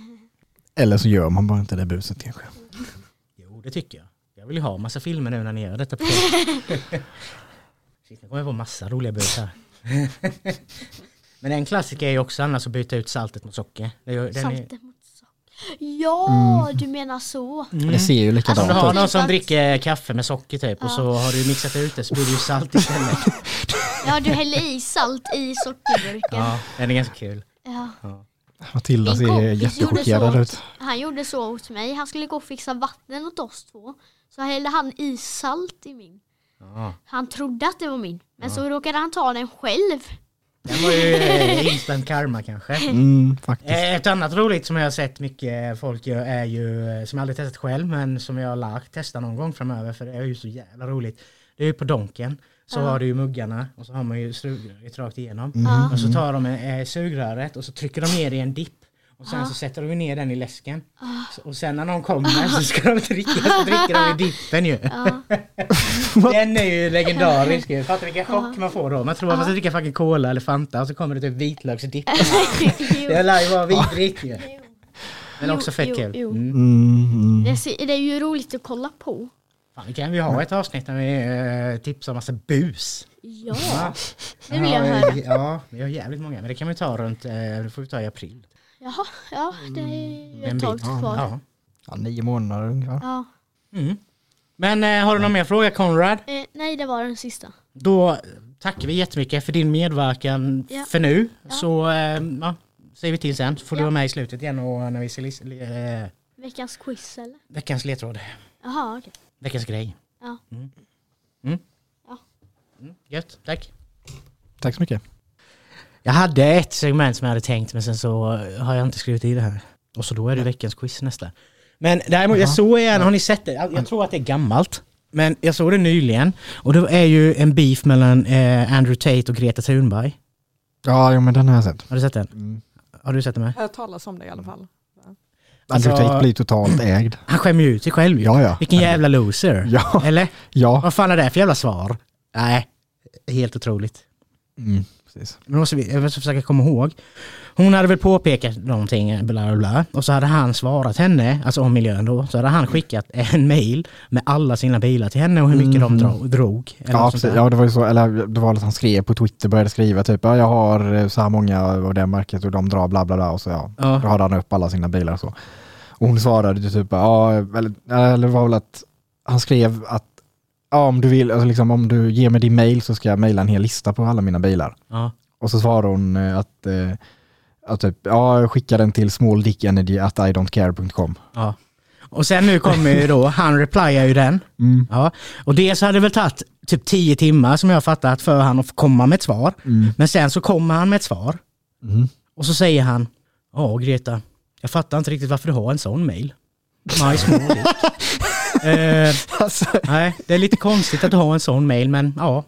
Eller så gör man bara inte det buset kanske.
Jo, det tycker jag. Jag vill ju ha massa filmer nu när ni gör detta. (laughs) program. Shit, nu kommer jag få massa roliga busar. (laughs) Men en klassiker är ju också annars att byta ut saltet mot socker. Det är, ju- den är,
Saltet mot socker. Ja, du menar så.
Mm.
Det ser ju
Om
likadant
du
Alltså,
har
ut.
någon som dricker kaffe med socker typ och så har du mixat ut det så blir det ju salt istället.
Ja, du häller i salt i sockerburken. (laughs) Ja.
Ja, den är ganska kul.
Matilda
Min
ser
kompis
jättechockerad
gjorde
ut.
Han gjorde så åt mig. Han skulle gå och fixa vatten åt oss två. Så hällde han i salt i min.
Ja.
Han trodde att det var min. Men så råkade han ta den själv.
Den var ju eh, instant karma
(laughs)
kanske.
Mm, faktiskt.
Eh, Ett annat roligt som jag har sett mycket folk gör är ju, eh, som jag aldrig testat själv men som jag har lagt testa någon gång framöver för det är ju så jävla roligt. Det är ju på Donken, så har du ju muggarna och så har man ju sugröret rakt igenom. Och så tar de eh, sugröret och så trycker de ner i en dipp och sen så sätter de ner den i läsken. Så- Och sen när någon kommer så ska de dricka, så dricker de i dippen ju. (laughs) Den är ju legendarisk ju. Fattar vilken chock man får då. Man tror att man ska dricka fucking cola eller Fanta och så kommer det typ vitlöksdipp. Det lär ju vara vidrigt ju. Men också fett
jo,
kul.
jo.
Mm.
Mm, mm.
Det, ser- det är ju roligt att kolla på.
Fan, vi kan vi ha ett avsnitt när vi eh, tipsar om massa bus.
Ja, det vill jag höra.
Ja, vi har jävligt många. Men det kan vi ta runt, eh, det får vi ta i april.
Jaha, ja, det är ju
En
ett tag
bit.
kvar.
Ja.
Mm, Ja, nio månader ungefär.
Ja.
Mm. Men eh, har du någon mer fråga Konrad?
Eh, nej, det var den sista.
Då tackar vi jättemycket för din medverkan
Ja.
för nu. Så eh, ja, säger vi till sen så får du
Ja.
vara med i slutet igen och när vi ser lis- eh,
Veckans quiz eller?
veckans ledtråd.
Jaha, okej.
Veckans grej.
Ja.
Mm. Mm.
Ja.
Mm, gött, tack.
Tack så mycket.
Jag hade ett segment som jag hade tänkt men sen så eh, har jag inte skrivit i det här. Och så då är det veckans quiz nästa. Men däremot, jag såg igen, har ni sett det? Jag tror att det är gammalt. Men jag såg det nyligen. Och det är ju en beef mellan eh, Andrew Tate och Greta Thunberg.
Ja, jo, men den har jag sett.
Har du sett den?
Mm.
Har du sett den med?
Jag talas om det i alla fall.
Alltså, Undertake blir totalt ägd.
Han skämmer ju ut sig själv ju.
Ja, ja.
Vilken jävla loser.
Ja,
Eller?
ja.
Vad fan är det för jävla svar? Nej, helt otroligt.
Mm, precis.
Men måste vi, jag måste försöka komma ihåg. Hon hade väl påpekat någonting, bla bla bla. Och så hade han svarat henne, alltså om miljön då, så hade han skickat en mail med alla sina bilar till henne och hur mycket de dro- drog. eller
Mm. Ja,
något sånt
precis.
där.
ja, det var ju så, eller det var att han skrev på Twitter, började skriva typ, ja, jag har eh, så här många av det märket och de drar bla bla bla och så ja,
Ja.
radade han upp alla sina bilar och så. Och hon svarade ju typ, ja, eller, eller det var väl att han skrev att, ja om du vill, alltså liksom om du ger mig din mail så ska jag mejla en hel lista på alla mina bilar.
Ja.
Och så svarade hon eh, att, eh, att typ, ja, skicka den till smalldickenergy.idontcare.com.
Och sen nu kommer ju
(laughs)
då, han replyar ju den.
Mm.
Ja. Och dels hade det väl tagit typ tio timmar som jag har fattat för han att komma med ett svar.
Mm.
Men sen så kommer han med ett svar
Mm.
och så säger han, ja Greta, jag fattar inte riktigt varför du har en sån mail. My small
(laughs)
dick. Eh,
Alltså,
Nej, det är lite konstigt att du har en sån mail, men ja,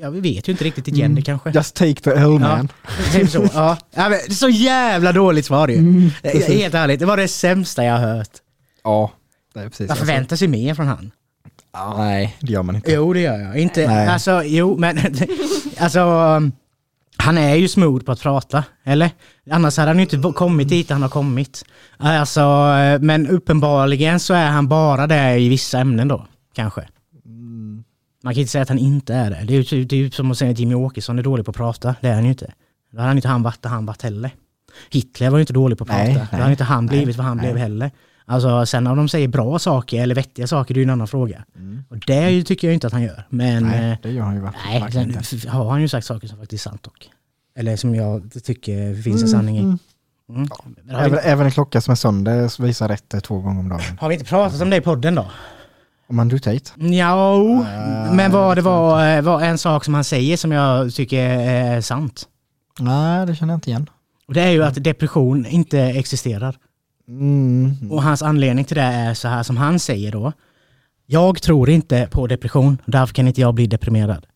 ja vi vet ju inte riktigt ditt gender kanske.
just take the L man.
Typ så, ja. ja men, det är så jävla dåligt svar ju.
Mm.
Det-
precis.
Helt ärligt, det var det sämsta jag har hört.
Ja, det är precis.
Jag
alltså.
förväntar sig mer från han.
Ja, nej, det gör man inte.
Jo, det gör jag. Inte,
Nej.
alltså, jo, men (laughs) alltså, um, han är ju smooth på att prata, eller? Annars hade han ju inte bo- kommit dit han har kommit. Alltså, eh, men uppenbarligen så är han bara det i vissa ämnen då, kanske.
Mm.
Man kan inte säga att han inte är det. Det är ju typ- det är ju som att säga att Jimmy Åkesson är dålig på att prata. Det är han ju inte. Då hade han inte han varit där han varit heller. Hitler var ju inte dålig på att prata.
Nej,
Då hade
nej,
inte han blivit vad han blev heller. Alltså sen om de säger bra saker eller vettiga saker, det är ju en annan fråga. Och det är ju- tycker jag inte att han gör. Men
Mm. Nej,
eh,
det gör han ju verkligen
nej,
verkligen
sen
inte.
f- har han ju sagt saker som faktiskt är sant dock. Eller som jag tycker finns en sanning i. Mm. Men Har, vi,
Även, även en klocka som är sönder visar rätt eh, två gånger om dagen.
har vi inte pratat om det i podden då?
Om man du Tate?
Ja, men vad det var, eh, var en sak som han säger som jag tycker är sant.
Nej, det känner jag inte igen.
Och det är ju att depression inte existerar.
Mm.
Och hans anledning till det är så här som han säger då. Jag tror inte på depression, därför kan inte jag bli deprimerad.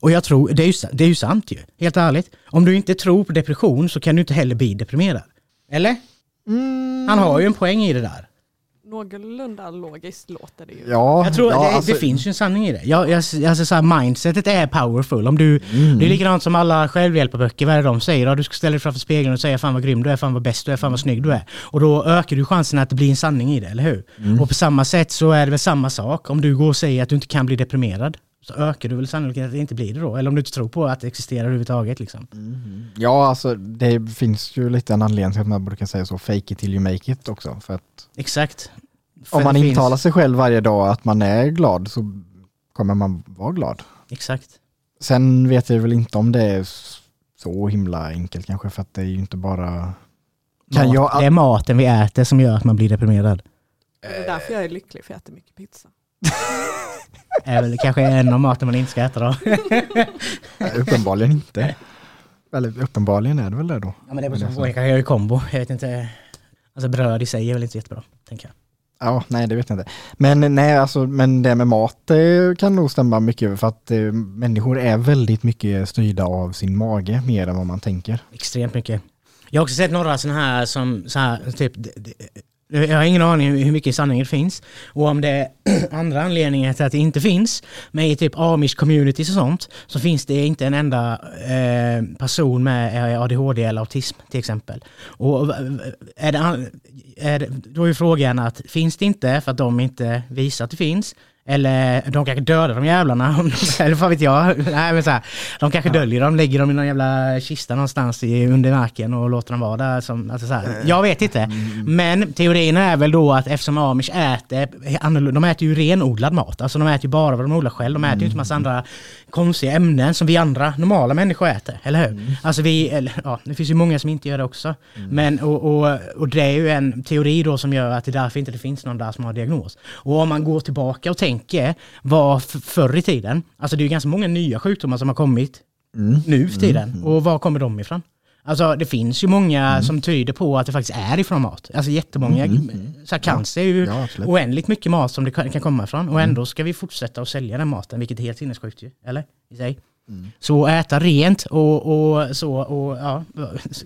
Och jag tror, det är ju, sa- det är ju sant ju, helt ärligt. Om du inte tror på depression så kan du inte heller bli deprimerad. Eller? Han har ju en poäng i det där.
Någorlunda logiskt låter det ju.
Ja,
Jag tror
ja,
det,
alltså,
det finns ju en sanning i det. Jag, jag, alltså så här, mindsetet är powerful. Om du,
Mm.
Det är likadant som alla självhjälparböcker, vad är det de säger? Ja, du ska ställa dig framför spegeln och säga fan vad grym du är, fan vad bäst du är, fan vad snygg du är. Och då ökar du chansen att det blir en sanning i det, eller hur?
Mm.
Och på samma sätt så är det väl samma sak. Om du går och säger att du inte kan bli deprimerad så ökar du väl sannolikheten att det inte blir det då. Eller om du inte tror på att det existerar överhuvudtaget. Liksom.
ja, alltså det finns ju lite en anledning till att man brukar säga så, fake it till you make it också. För att
Exakt. För
om man
det finns-
intalar sig själv varje dag att man är glad så kommer man vara glad.
Exakt.
Sen vet jag väl inte om det är s- så himla enkelt kanske, för att det är ju inte bara... Kan
Mat,
jag,
Det är maten vi äter som gör att man blir deprimerad.
Det är därför jag är lycklig för jag äter mycket pizza.
Det är väl kanske en av maten man inte ska äta då.
Nej, (laughs) uppenbarligen inte. Eller uppenbarligen är det väl det då.
Ja men det
Men
beror
alltså-
på, jag kanske gör i kombo. Jag vet inte. Alltså bröd i sig är väl inte så jättebra, tänker jag.
Ja, nej det vet jag inte. Men nej, alltså, men det med mat det kan nog stämma mycket för att eh, människor är väldigt mycket styrda av sin mage mer än vad man tänker.
Extremt mycket. Jag har också sett några sådana här som, så här, typ, d- d- jag har ingen aning hur mycket sanning det finns och om det är (clears throat) andra anledningar till att det inte finns. Men i typ amish communities och sånt så finns det inte en enda eh, person med eh, ADHD eller autism till exempel. Och v- v- är det, an- är det, då är ju frågan att finns det inte för att de inte visar att det finns eller de kanske dödar de jävlarna, om de- (laughs) eller vad vet jag. Nej, men så här, de kanske döljer dem, lägger dem i någon jävla kista någonstans i, under marken och låter dem vara där. Som, alltså så här. Jag vet inte. Men teorin är väl då att eftersom amish äter annorlunda, de äter ju renodlad mat. Alltså de äter ju bara vad de odlar själv. De äter ju inte massa andra konstiga ämnen som vi andra normala människor äter, eller hur? Alltså vi, eller, ja, det finns ju många som inte gör det också. Men, och, och, och det är ju en teori då som gör att det är därför inte det finns någon där som har diagnos. Och om man går tillbaka och tänker vad f- förr i tiden, alltså det är ju ganska många nya sjukdomar som har kommit nu
Mm.
för tiden. Och var kommer de ifrån? Alltså det finns ju många
Mm.
som tyder på att det faktiskt är ifrån mat. Alltså jättemånga, så här, cancer är ju
Mm. Ja, absolut. Mm.
oändligt mycket mat som det kan kan komma ifrån. Och ändå ska vi fortsätta att sälja den maten, vilket är helt sinnessjukt ju, eller? I sig.
Mm.
Så äta rent och, (laughs) och så, och ja,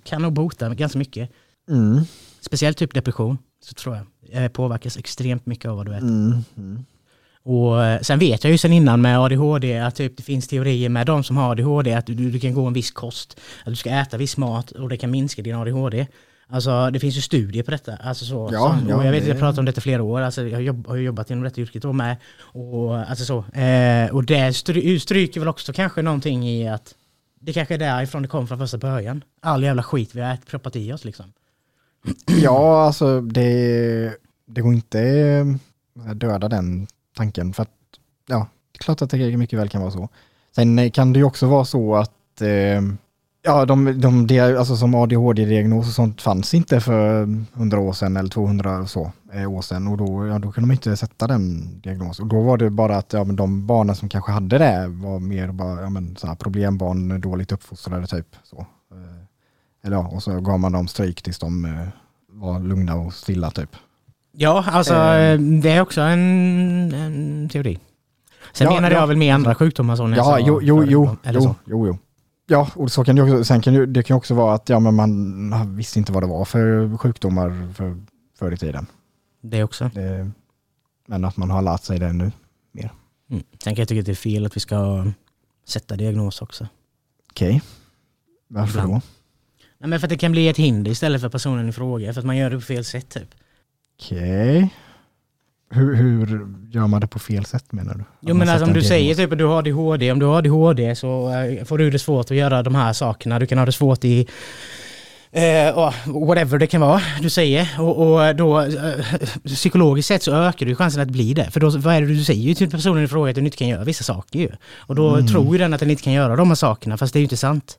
kan nog bota ganska mycket.
Mm.
Speciellt typ depression. Så tror jag. Eh, påverkas extremt mycket av vad du äter.
Mm. Mm.
Och eh, sen vet jag ju sen innan med ADHD att typ det finns teorier med de som har ADHD att du, du kan gå en viss kost, att du ska äta viss mat och det kan minska din ADHD. Alltså det finns ju studier på detta. Alltså, så,
Ja,
så,
ja,
och jag vet att
det-
jag pratat om detta i flera år, alltså, jag har jobb- har ju jobbat inom detta yrket då med. Och, alltså, så. Eh, och det stry- stryker väl också kanske någonting i att det kanske är därifrån det kom från första början. All jävla skit vi har ätit, proppat i oss liksom.
Ja, alltså det, det går inte eh, döda den tanken för att ja, det är klart att det mycket väl kan vara så. Sen eh, kan det ju också vara så att eh, ja, de, de, de, alltså som ADHD-diagnos och sånt fanns inte för 100 år sedan eller 200 och så, eh, år sedan och då, ja, då kunde de inte sätta den diagnosen. Och då var det bara att ja, men de barnen som kanske hade det var mer bara ja, men, så här, problembarn, dåligt uppfostrade typ. Så. Eh, Eller, ja, och så gav man dem stryk tills de eh, var lugna och stilla typ.
Ja, alltså
Ehm.
det är också en, en teori. Sen
Ja,
menade
ja.
jag väl med andra sjukdomar som
Ja,
näsa och
jo, jo, jo,
öron, eller
jo,
så.
jo, jo. Ja, och så kan det, ju också, sen kan det, det kan ju också vara att ja, men man visste inte vad det var för sjukdomar för, förr i tiden.
Det också.
Det, men att man har lärt sig det nu.
Mm. Sen kan jag tycka att det är fel att vi ska sätta diagnos också.
Okej. Varför
Ibland.
då?
Nej, men för att det kan bli ett hinder istället för personen i fråga, för att man gör det på fel sätt typ.
Okej. Hur, hur gör man det på fel sätt menar du? Att
Jo
man
men alltså,
sätter
om
en
du
diagnos?
säger typ att du har ADHD, om du har ADHD så eh, får du det svårt att göra de här sakerna. Du kan ha det svårt i eh, ja, whatever det kan vara du säger. Och, och då eh, psykologiskt sett så ökar du chansen att bli det. För då, vad är det du säger till personen i fråga att den inte kan göra vissa saker ju. Och då
Mm.
tror ju den att den inte kan göra de här sakerna, fast det är ju inte sant.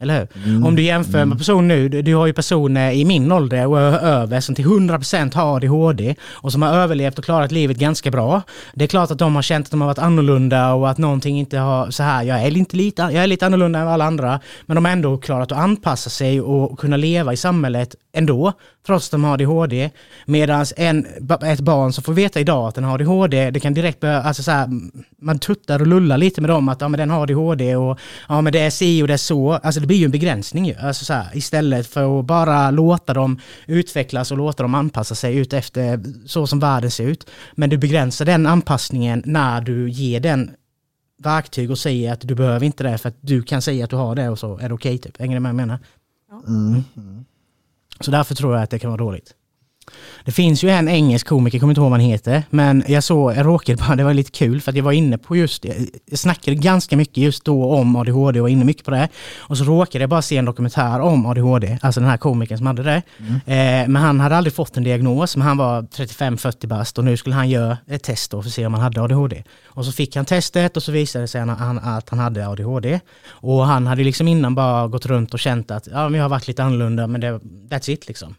Eller hur?
Mm.
typ- Om du jämför med person nu, du, du har ju personer i min ålder och ö- över som till 100% har ADHD och som har överlevt och klarat livet ganska bra. Det är klart att de har känt att de har varit annorlunda och att någonting inte har, så här, jag är, inte lite, jag är lite annorlunda än alla andra, men de har ändå klarat att anpassa sig och kunna leva i samhället ändå, trots att de har ADHD. Medan en, ba- ett barn som får veta idag att den har ADHD, det kan direkt börja, alltså så här, man tuttar och lullar lite med dem att ja, men den har ADHD och ja, men det är si och det är så. Alltså det blir ju en begränsning ju. Alltså, så här, istället för att bara låta dem utvecklas och låta dem anpassa sig ut efter så som världen ser ut. Men du begränsar den anpassningen när du ger den verktyg och säger att du behöver inte det för att du kan säga att du har det och så är det okej. typ. Hänger ni med vad jag menar?
Mm. Mm.
Så därför tror jag att det kan vara dåligt. Det finns ju en engelsk komiker, jag kommer inte ihåg vad han heter, men jag såg, jag råkade bara, (laughs) det var lite kul för att jag var inne på just, jag snackade ganska mycket just då om ADHD och var inne mycket på det. Och så råkade jag bara se en dokumentär om ADHD, alltså den här komikern som hade det. Eh, men han hade aldrig fått en diagnos, men han var 35-40 bast och nu skulle han göra ett test då för att se om han hade ADHD. Och så fick han testet och så visade det sig han, han, att han hade ADHD. Och han hade liksom innan bara gått runt och känt att ja, men jag har varit lite annorlunda men det, that's it liksom.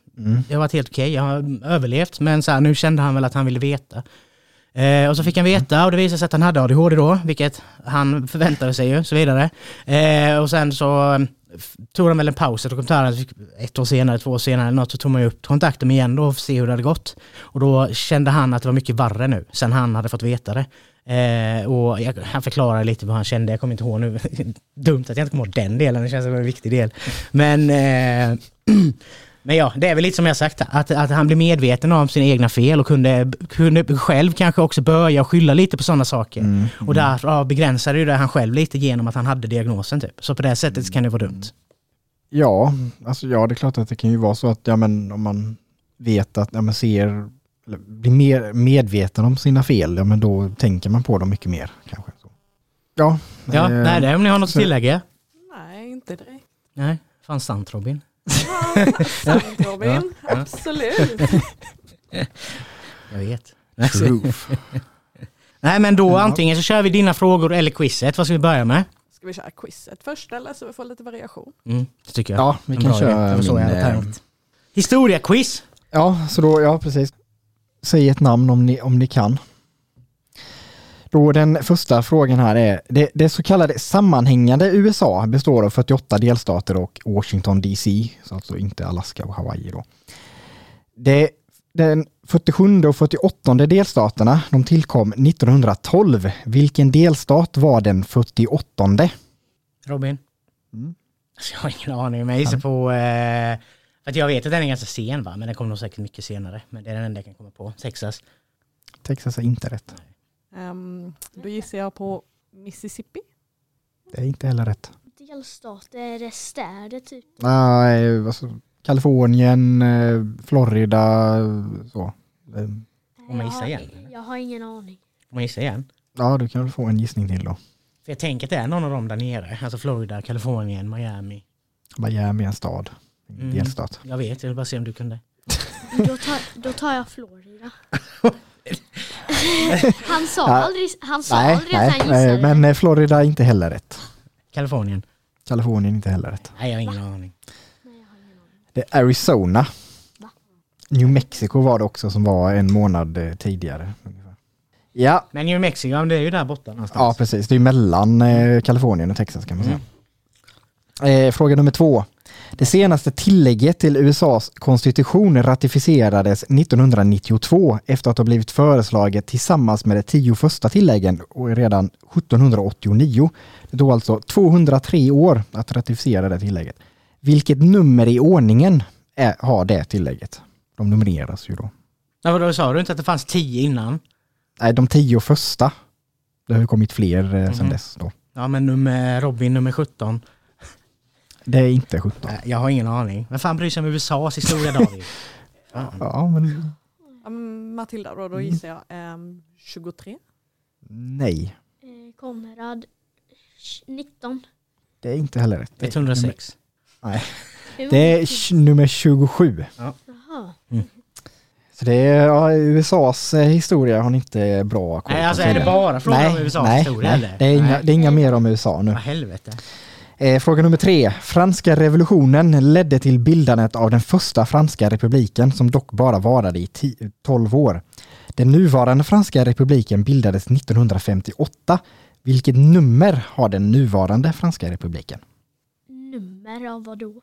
Jag har varit helt okej, jag har överlevt men så här, nu kände han väl att han ville veta. Eh, och så fick han veta och det visade sig att han hade ADHD då, vilket han förväntade sig ju, så vidare. Eh, och sen så eh, f- tog han väl en paus i dokumentären, så fick- ett år senare, två år senare eller något, så tog man ju upp kontakten igen då för att se hur det hade gått. Och då kände han att det var mycket värre nu, sen han hade fått veta det. Eh, och jag, han förklarade lite vad han kände, jag kommer inte ihåg nu. (laughs) Dumt att jag inte kommer ihåg den delen, det känns som en viktig del. Men eh, (clears throat) Men ja, det är väl lite som jag sagt, att, att han blev medveten om sina egna fel och kunde, kunde själv kanske också börja skylla lite på sådana saker. Och
Mm.
där ja, begränsade ju det han själv lite genom att han hade diagnosen typ. Så på det
Mm.
sättet kan det vara dumt.
Ja, alltså ja, det är klart att det kan ju vara så att ja, men om man vet att, ja, men ser, eller blir mer medveten om sina fel, ja men då tänker man på dem mycket mer kanske. Så. Ja,
Ja,
eh,
nej det är om ni har något att
så-
tillägga.
Nej, inte direkt.
Nej, fan sant Robin.
Sant Robin, absolut.
Jag vet. (laughs)
Truth.
Nej men då
Ja.
antingen så kör vi dina frågor eller quizet, vad ska vi börja med?
Ska vi köra quizet först eller så vi får lite variation?
Mm, det tycker jag.
Ja, vi
En
kan
bra idé. Det
köra
var så jag
min,
hade
eh,
tänkt. Historia-quiz!
Ja, så då, ja precis. Säg ett namn om ni, om ni kan. Då den första frågan här är, det, det så kallade sammanhängande USA består av 48 delstater och Washington DC, så alltså inte Alaska och Hawaii då. Det, den 47 och 48 delstaterna, de tillkom 1912. Vilken delstat var den 48?
Robin?
Mm.
Alltså, jag har ingen aning, men jag gissar på eh, För att jag vet att den är ganska sen va, men den kommer nog säkert mycket senare. Men det är den enda jag kan komma på. Texas.
Texas är inte rätt.
Ehm, då gissar jag på Mississippi.
Det är inte heller rätt.
Delstater, är städer typ.
Nej, alltså, Kalifornien, eh, Florida, eh, så. Eh,
Får man
Jag
gissa
har-
igen, eller?
Jag har ingen aning.
Om man gissar igen.
Ja, du kan väl få en gissning till då.
För jag tänker att det är någon av dem där nere. Alltså Florida, Kalifornien, Miami.
Miami är en stad, en
Mm.
delstat.
Jag vet, jag vill bara se om du kunde.
Då tar, då tar
(laughs)
jag Florida. han sa
Ja.
aldrig, han sa
Nej,
aldrig att
nej,
han
nej,
gissade.
men eh, Florida är inte heller rätt.
Kalifornien.
Kalifornien är inte heller rätt.
Nej, jag har ingen aning.
Nej, jag har ingen aning.
Det är Arizona.
Va?
New Mexico var det också som var en månad eh, tidigare. Ungefär. Ja,
Men New Mexico, ja, men det är ju där borta
ja
någonstans.
precis. Det är mellan
Mm.
eh, Kalifornien och Texas kan man säga. Eh, fråga nummer två. Det senaste tillägget till USAs konstitution ratificerades 1992 efter att ha blivit föreslaget tillsammans med de tio första tilläggen och redan 1789. Det tog alltså 203 år att ratificera det tillägget. Vilket nummer i ordningen är, har det tillägget? De numreras ju då.
Ja, vadå, sa du inte att det fanns tio innan?
Nej, de tio första. Det har ju kommit fler eh, sedan
Mhm.
dess då.
Ja, men nummer, Robin nummer 17.
Det är inte 17.
Nej, Jag har ingen aning. Men fan bryr sig om USAs historia David? Fan.
Ja, men
Um, Matilda då, då
Mm.
gissar jag ehm, 23.
nej.
Eh, Konrad, sh- 19.
Det är inte heller rätt. (laughs) Det är
106.
Hur
Det är
många-
sh- nummer 27.
Jaha.
Så det är ja, USAs eh, historia har ni inte bra koll på.
Nej, alltså är det
tydligen.
bara frågan om USAs
nej,
historia
nej,
eller?
Det är, inga,
Nej.
det är inga mer om USA nu.
Vad helvete.
Eh, fråga nummer tre. Franska revolutionen ledde till bildandet av den första franska republiken som dock bara varade i 10 12 år. Den nuvarande franska republiken bildades 1958. Vilket nummer har den nuvarande franska republiken?
Nummer av vad då?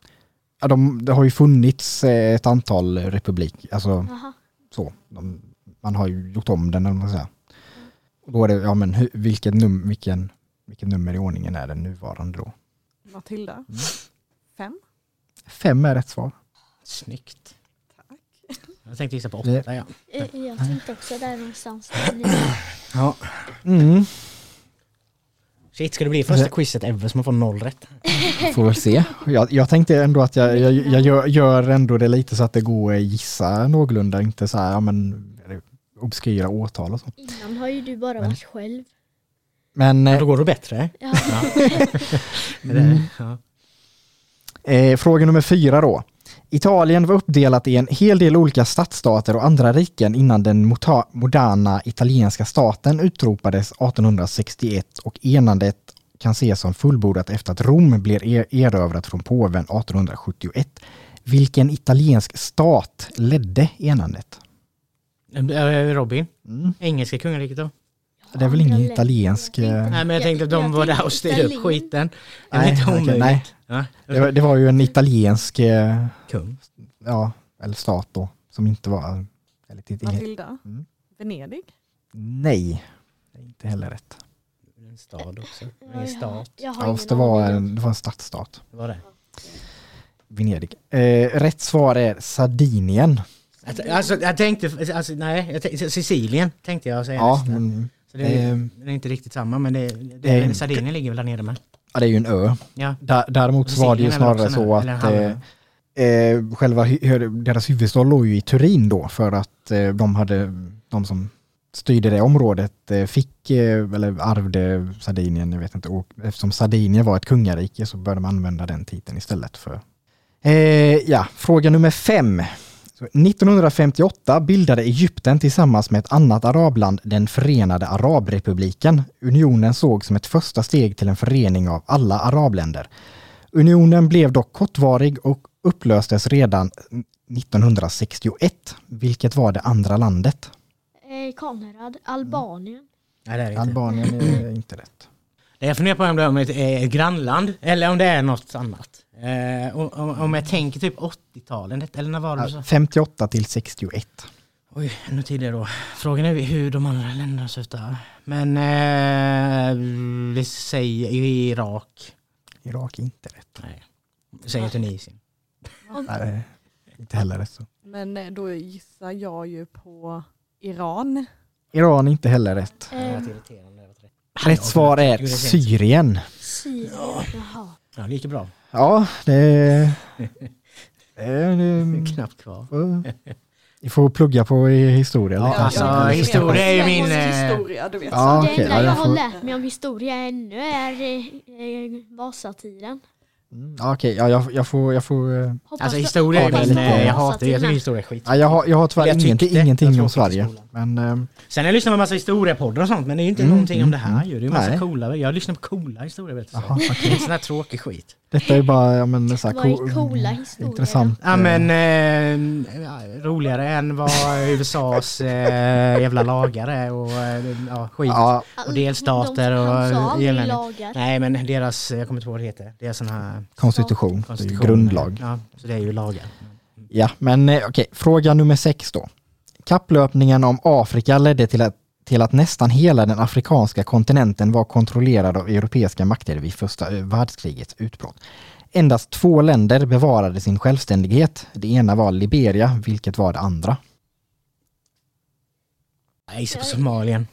Ja, de, det har ju funnits eh, ett antal republik, alltså
Jaha.
så. De, man har ju gjort om den eller vad man ska säga. Och då är det, ja men hur, vilket, num, vilken, vilken nummer i ordningen är den nuvarande då? Mm.
Matilda. Fem.
Fem är rätt svar.
Snyggt.
Tack.
Jag tänkte gissa på
Det-
åtta ja.
Eh, Jag tänkte också
(laughs)
där någonstans.
ja.
Mm,
Shit, ska det bli första quizet ever som man får noll rätt?
får väl se. Jag, jag tänkte ändå att jag, jag, jag gör, gör ändå det lite så att det går att gissa någorlunda, inte så här, ja men är det obskyra årtal och så.
Innan har ju du bara
Men-
varit själv.
Men eh,
Då går det
(laughs)
bättre.
Ja.
Är
Mm.
det? Ja.
Eh, fråga nummer fyra då. Italien var uppdelat i en hel del olika stadsstater och andra riken innan den mota- moderna italienska staten utropades 1861 och enandet kan ses som fullbordat efter att Rom blev er- erövrat från påven 1871. Vilken italiensk stat ledde enandet?
Eh, Robin,
Mm.
engelska kungariket då?
Det är väl ingen italiensk... eh,
Nej men jag tänkte att de
Jag
var där
tänkte
och styrde upp
Berlin.
skiten. Det var inte
okej,
omöjligt.
nej.
Ja.
Det, var, det var ju en italiensk eh,
Kung.
ja, eller stat då, som inte var... Eller, till-
Matilda.
Mm.
Venedig.
nej, det är inte heller rätt.
En stad också.
Ja,
En stat.
Jag har, jag har
Ja,
ingen
fast det var,
aning.
en, det var en stadsstat,
Det var det.
Venedig. Eh, rätt svar är Sardinien.
Att- Alltså jag tänkte, alltså, nej, jag tänkte, Sicilien tänkte jag säga
Ja,
nästa.
men,
Så det, är,
Ehm.
det är inte riktigt samma men det, det,
Ehm.
Sardinien ligger väl där nere med.
ja, det är ju en ö.
Ja.
Dä- Däremot så var det ju
Sicilien är väl
snarare
också en
så
ö, eller
att
en
eh,
halvö.
eh, själva hu- hur- deras huvudstad låg ju i Turin då för att eh, de hade, de som styrde det området eh, fick, eh, eller ärvde Sardinien, jag vet inte, och eftersom Sardinien var ett kungarike så började man använda den titeln istället för. Eh, ja, fråga nummer fem. Så 1958 bildade Egypten tillsammans med ett annat arabland den förenade arabrepubliken. Unionen sågs som ett första steg till en förening av alla arabländer. Unionen blev dock kortvarig och upplöstes redan 1961. Vilket var det andra landet?
Eh, Konrad, Albanien.
Nej, det är det inte.
Albanien är inte rätt.
Det Jag funderar på om det är ett, eh, ett grannland eller om det är något annat. Eh, om- om, om jag tänker typ 80-talet eller när var det du sa?
58 till 61.
Oj, ännu tidigare då. Frågan är hur de andra länderna ser ut där. Men eh, vi säger Irak.
Irak är inte rätt.
Nej. Vi säger Tunisien.
Nej, Inte heller rätt så.
Men eh, då gissar jag ju på Iran.
Iran inte heller rätt.
Det är
Eh,
rätt irriterande. det var rätt.
Rätt svar är Syrien.
Syrien, jaha.
Ja, det gick ju bra.
Ja, det är... Det är, det är
Knappt kvar.
vi får plugga på i historia
Ja,
lite.
alltså,
Ja,
historia är ju min...
Svensk
eh,
historia, du vet.
Ja,
det
okej.
enda
Ja,
jag
jag
har
får...
lärt mig om historia ännu är eh, eh, Vasatiden.
Ja, Mm, okej. Ja, jag, jag får... Jag, får eh,
Hoppas
Alltså
du-
historia är
hoppas
min...
du
eh,
har
Jag hatar det. Jag
Vasatiden.
tycker historia är skit.
ja, jag har, jag har tyvärr
Jag tyckte-
ingenting, ingenting
jag
om
tråkigt i
Sverige.
skolan.
Men ehm,
Sen har jag lyssnat på en massa historiepoddar och sånt men det är ju inte någonting om det här ju. Det är en massa
Nej.
coola, jag lyssnar på coola historieberättelser.
Jaha,
Det är sån här tråkig skit.
detta är ju bara... Ja, men, så här,
Vad är
co-
coola historier?
Intressant.
Ja men eh, ja, roligare än (laughs) vad USAs eh, jävla lagar är och eh, ja, skit.
Ja,
Och delstater
De-
och
Han sa aldrig
elände.
lagar.
Nej men deras, jag kommer inte ihåg vad det heter, det är sån här
konstitution. Det är ju
konstitution.
grundlag.
Ja, så det är ju lagar.
Ja, men eh, okej, fråga nummer sex då. Kapplöpningen om Afrika ledde till att, till att nästan hela den afrikanska kontinenten var kontrollerad av europeiska makter vid första eh, världskrigets utbrott. Endast två länder bevarade sin självständighet. Det ena var Liberia, vilket var det andra.
Jag gissar på Somalien.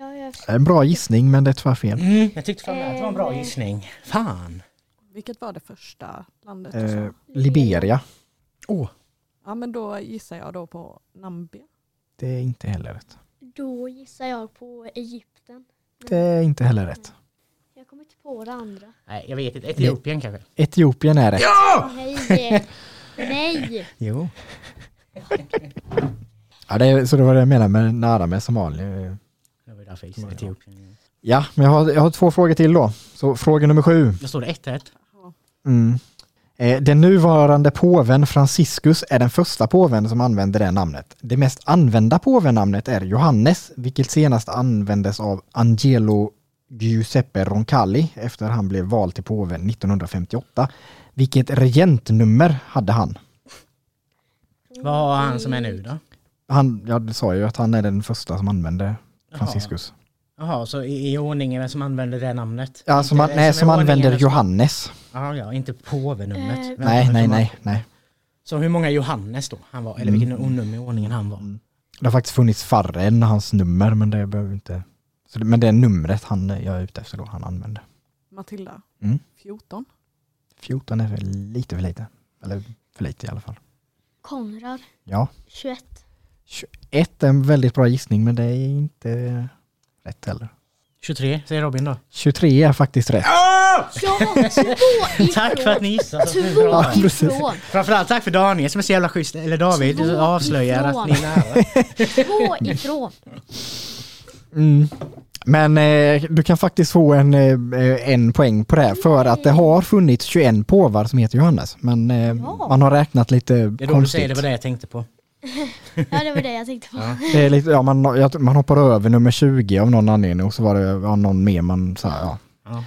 Ja, jag
En bra gissning, men det är tyvärr fel.
Mm, jag tyckte fan det här var en bra
Eh.
gissning. Fan!
Vilket var det första landet? du
Eh,
Mm.
sa?
Liberia.
Ja, men då gissar jag då på Namibia.
Det är inte heller rätt.
Då gissar jag på Egypten.
Det är inte heller rätt.
Jag kommer inte på det andra.
Nej jag vet inte, Etiopien kanske?
Etiopien är rätt.
Nej! eh. Nej!
Jo.
Ja, det är, så det var det jag menade med nära med Somalia.
Det var ju därför jag gissade Etiopien.
Ja, men jag har, jag har två frågor till då. Så fråga nummer sju.
Då står det 1-1.
Mm. Eh, Den nuvarande påven Franciscus är den första påven som använder det namnet. Det mest använda påvenamnet är Johannes, vilket senast användes av Angelo Giuseppe Roncalli efter han blev vald till påven 1958. Vilket regentnummer hade han?
Vad har han som är nu då?
Han, jag sa ju att han är den första som använde Franciscus.
Jaha, så i, i ordningen vem som använder det namnet?
Ja, som,
Inte
an, nej,
är
som
ordningen
använder
vem
Johannes.
Ja, ja, inte påvenumret.
Eh,
Vem
Nej,
som-
nej, nej, Mm. nej.
Så hur många Johannes då han var, eller vilken onummer i ordningen han var.
Det har faktiskt funnits färre än hans nummer, men det behöver vi inte... Så det, men det är numret han, eh, jag är ute efter då, han använde.
Matilda,
Mm.
14.
14 är väl lite för lite. Eller för lite i alla fall.
Konrad,
Ja,
21.
21 är en väldigt bra gissning, men det är inte rätt heller.
23 säger Robin då.
23 är faktiskt rätt.
Jag var två ifrån!
Tack för att ni gissade. så
Två
bra.
precis.
ifrån!
Framförallt tack för Daniel som är så jävla schysst, eller David, du
Två
avslöjar
ifrån.
att ni är nära. (laughs)
Två ifrån!
Mm. Men eh, du kan faktiskt få en, eh, en poäng på det här, för att det har funnits 21 påvar som heter Johannes. Men eh,
Ja.
man har räknat lite
Det är då du säger
konstigt.
det var det jag tänkte på.
Ja, det var det jag tänkte på.
Det är lite, ja, man, jag- man hoppar över nummer 20 av någon anledning och så var det ja, någon mer man så här, ja.
Ja.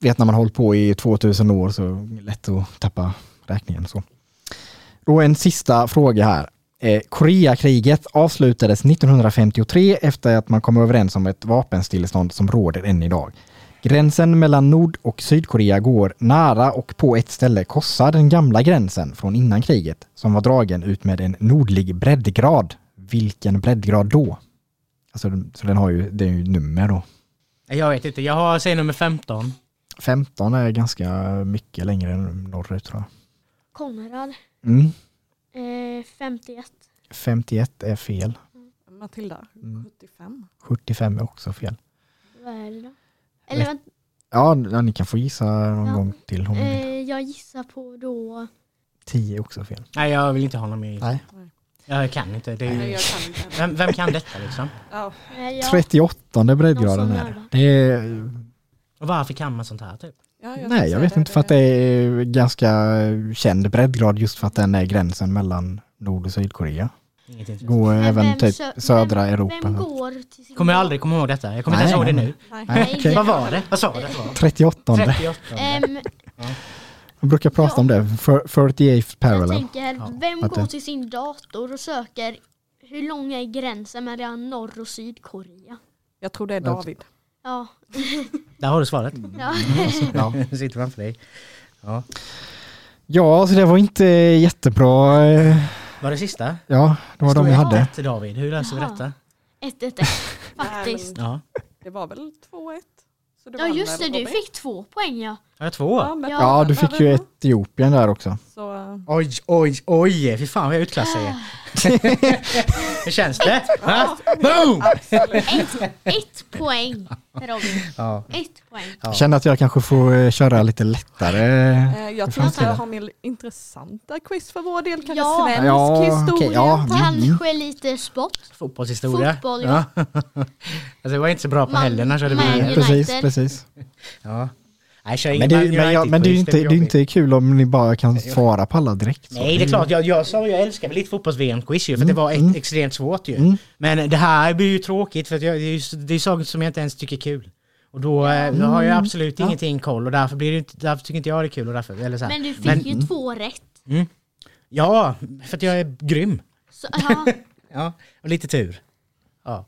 Vet när man hållit på i 2000 år så är det lätt att tappa räkningen. Så. Då en sista fråga här. Eh, Koreakriget avslutades 1953 efter att man kom överens om ett vapenstillestånd som råder än idag. Gränsen mellan Nord och Sydkorea går nära och på ett ställe korsar den gamla gränsen från innan kriget som var dragen ut med en nordlig breddgrad. Vilken breddgrad då? Alltså, den- så den har ju, det är ju nummer då.
Jag vet inte, jag har, säger nummer 15.
15 är ganska mycket längre än norrut tror
Konrad,
jag. Mm.
eh, 51.
51 är fel.
Matilda,
Mm.
75.
75 är också fel.
Vad är det då? Eller vänta,
Ja, ja, ni kan få gissa någon
Ja.
gång till om ni vill.
eh, jag gissar på då...
10 är också fel.
Nej jag vill inte ha någon mer gissning.
Nej.
Jag kan inte. Det är
Nej,
ju...
jag kan inte.
vem, vem kan detta liksom?
Ja,
Eh, jag,
38 breddgraden
Någon som
är det.
nördar.
det är,
Och varför kan man sånt här typ?
ja,
Nej,
gissar
jag vet inte för att det är ganska känd breddgrad just för att den är gränsen mellan Nord och Sydkorea.
Inget intressant.
Går
Men
även
vem
typ
sö-
södra
vem
Europa.
går till sin...
Kommer jag aldrig komma ihåg detta, jag kommer inte ens
Nej,
ihåg det
nej,
nu.
Nej.
Nej, okej.
Vad var det? Vad sa du att det var?
38.
38.
Ehm,
Man brukar prata om det. Fir- 38
Jag
parallel.
tänker, vem
att det-
går till sin dator och söker hur lång är gränsen mellan Norr och Sydkorea?
Jag tror det är David.
Ja,
Där har du svaret. (laughs)
ja.
Sitter framför dig.
Ja, så det var inte jättebra. eh,
Var det sista?
Ja, det var de jag hade.
Till David, hur löser vi
Jaha.
detta? (laughs)
1-1 faktiskt.
Ja.
Det var väl 2-1? Så
Ja
vann
just det,
väl
du
Robin?
fick två
(laughs)
poäng ja.
Har jag två?
men-
Ja, du fick ju Etiopien där också.
Så, eh,
Oj, oj, oj! Fy fan vad jag utklassar
(gasps)
er. Hur känns det? Va? Boom!
Ett, ett poäng Robin.
Ja.
Ett poäng.
Ja.
Känner att jag kanske får eh, köra lite lättare.
eh, jag tror
fan
att
ska
jag
det?
har mer intressanta quiz för vår del. Kanske
Ja.
svensk
Ja,
historia.
okej, ja.
mm,
Kanske lite sport.
Fotbollshistoria.
Fotboll,
ja. (laughs)
ja.
alltså, det var inte så bra på
Man-
helgerna körde
man-
vi.
United.
Eh, Precis, precis.
Ja. Nej, kör
Men
ingen
det,
Man
är- men, jag,
United-quiz,
men det är
blir
ju inte, det är ju
jobbigt.
inte kul om ni bara kan svara på alla direkt. så.
Nej, det är klart. Jag, jag sa ju jag älskar väl lite fotbolls-VM-quiz ju, för att
Mm,
det var ett, extremt svårt ju. Men det här blir ju tråkigt, för att jag, det är ju- det är saker som jag inte ens tycker är kul. Och då,
Mm.
eh, då har jag absolut ingenting koll och därför, blir det, inte- därför tycker inte jag det är kul. Och därför, eller så här.
Men du fick
Men- mm.
ju två rätt.
Ja, för att jag är grym. (laughs)
Så, ja.
Ja, och lite tur. Ja,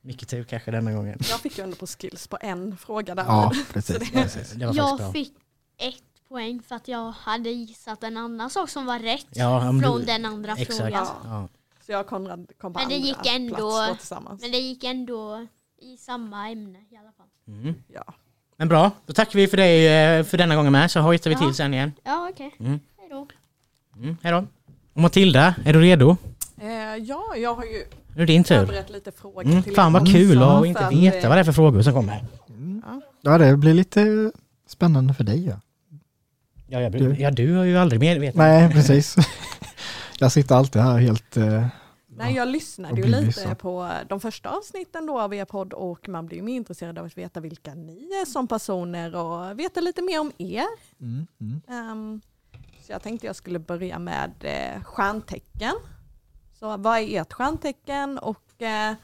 mycket tur kanske denna gången.
Jag fick ju ändå på skills på en fråga där.
Ja, precis. precis.
Det var faktiskt bra.
Jag fick ett poäng för att jag hade gissat en annan sak som var rätt
Ja, om
från
du-
den andra
Exakt.
frågan.
Ja.
Ja.
Så jag och Konrad kom på
Men det
andra
gick ändå-
plats då tillsammans.
Men det gick ändå i samma ämne i alla fall.
Ja.
Men bra, då tackar vi för dig eh, för denna gången med, så hojtar vi
Ja.
till sen igen.
Ja okej,
Mm.
hejdå.
Mm, hej då. Och Matilda, är du redo?
Eh, ja, jag har ju
Nu är det din tur.
förberett lite frågor
Mm,
till
fan
er
vad
också,
kul att
så
inte
att,
veta
eh,
vad det är för frågor som kommer.
Ja, det blir lite spännande för dig. Ja.
Ja,
Du.
jag, ja du har ju aldrig mer vetat.
Nej, precis. (laughs) Jag sitter alltid här helt... eh,
Nej, jag lyssnade ju
Då blir vi
lite
så.
på de första avsnitten då av er podd och man blir ju mer intresserad av att veta vilka ni är som personer och veta lite mer om er.
Mm, mm.
Ehm, så jag tänkte jag skulle börja med eh, stjärntecken. Så vad är ert stjärntecken och eh,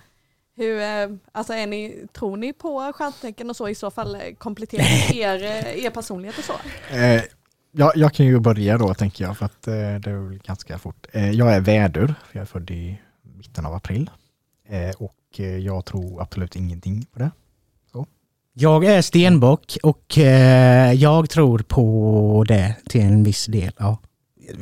hur, eh, alltså är ni, tror ni på stjärntecken och så i så fall eh, komplettera er, eh, er personlighet och så?
Eh, jag, jag kan ju börja då, tänker jag, för att eh, det är väl ganska fort. Eh, jag är vädur, för jag är född i mitten av april. Eh, och eh, jag tror absolut ingenting på det.
Jag är stenbock och eh, jag tror på det till en viss del. Ja.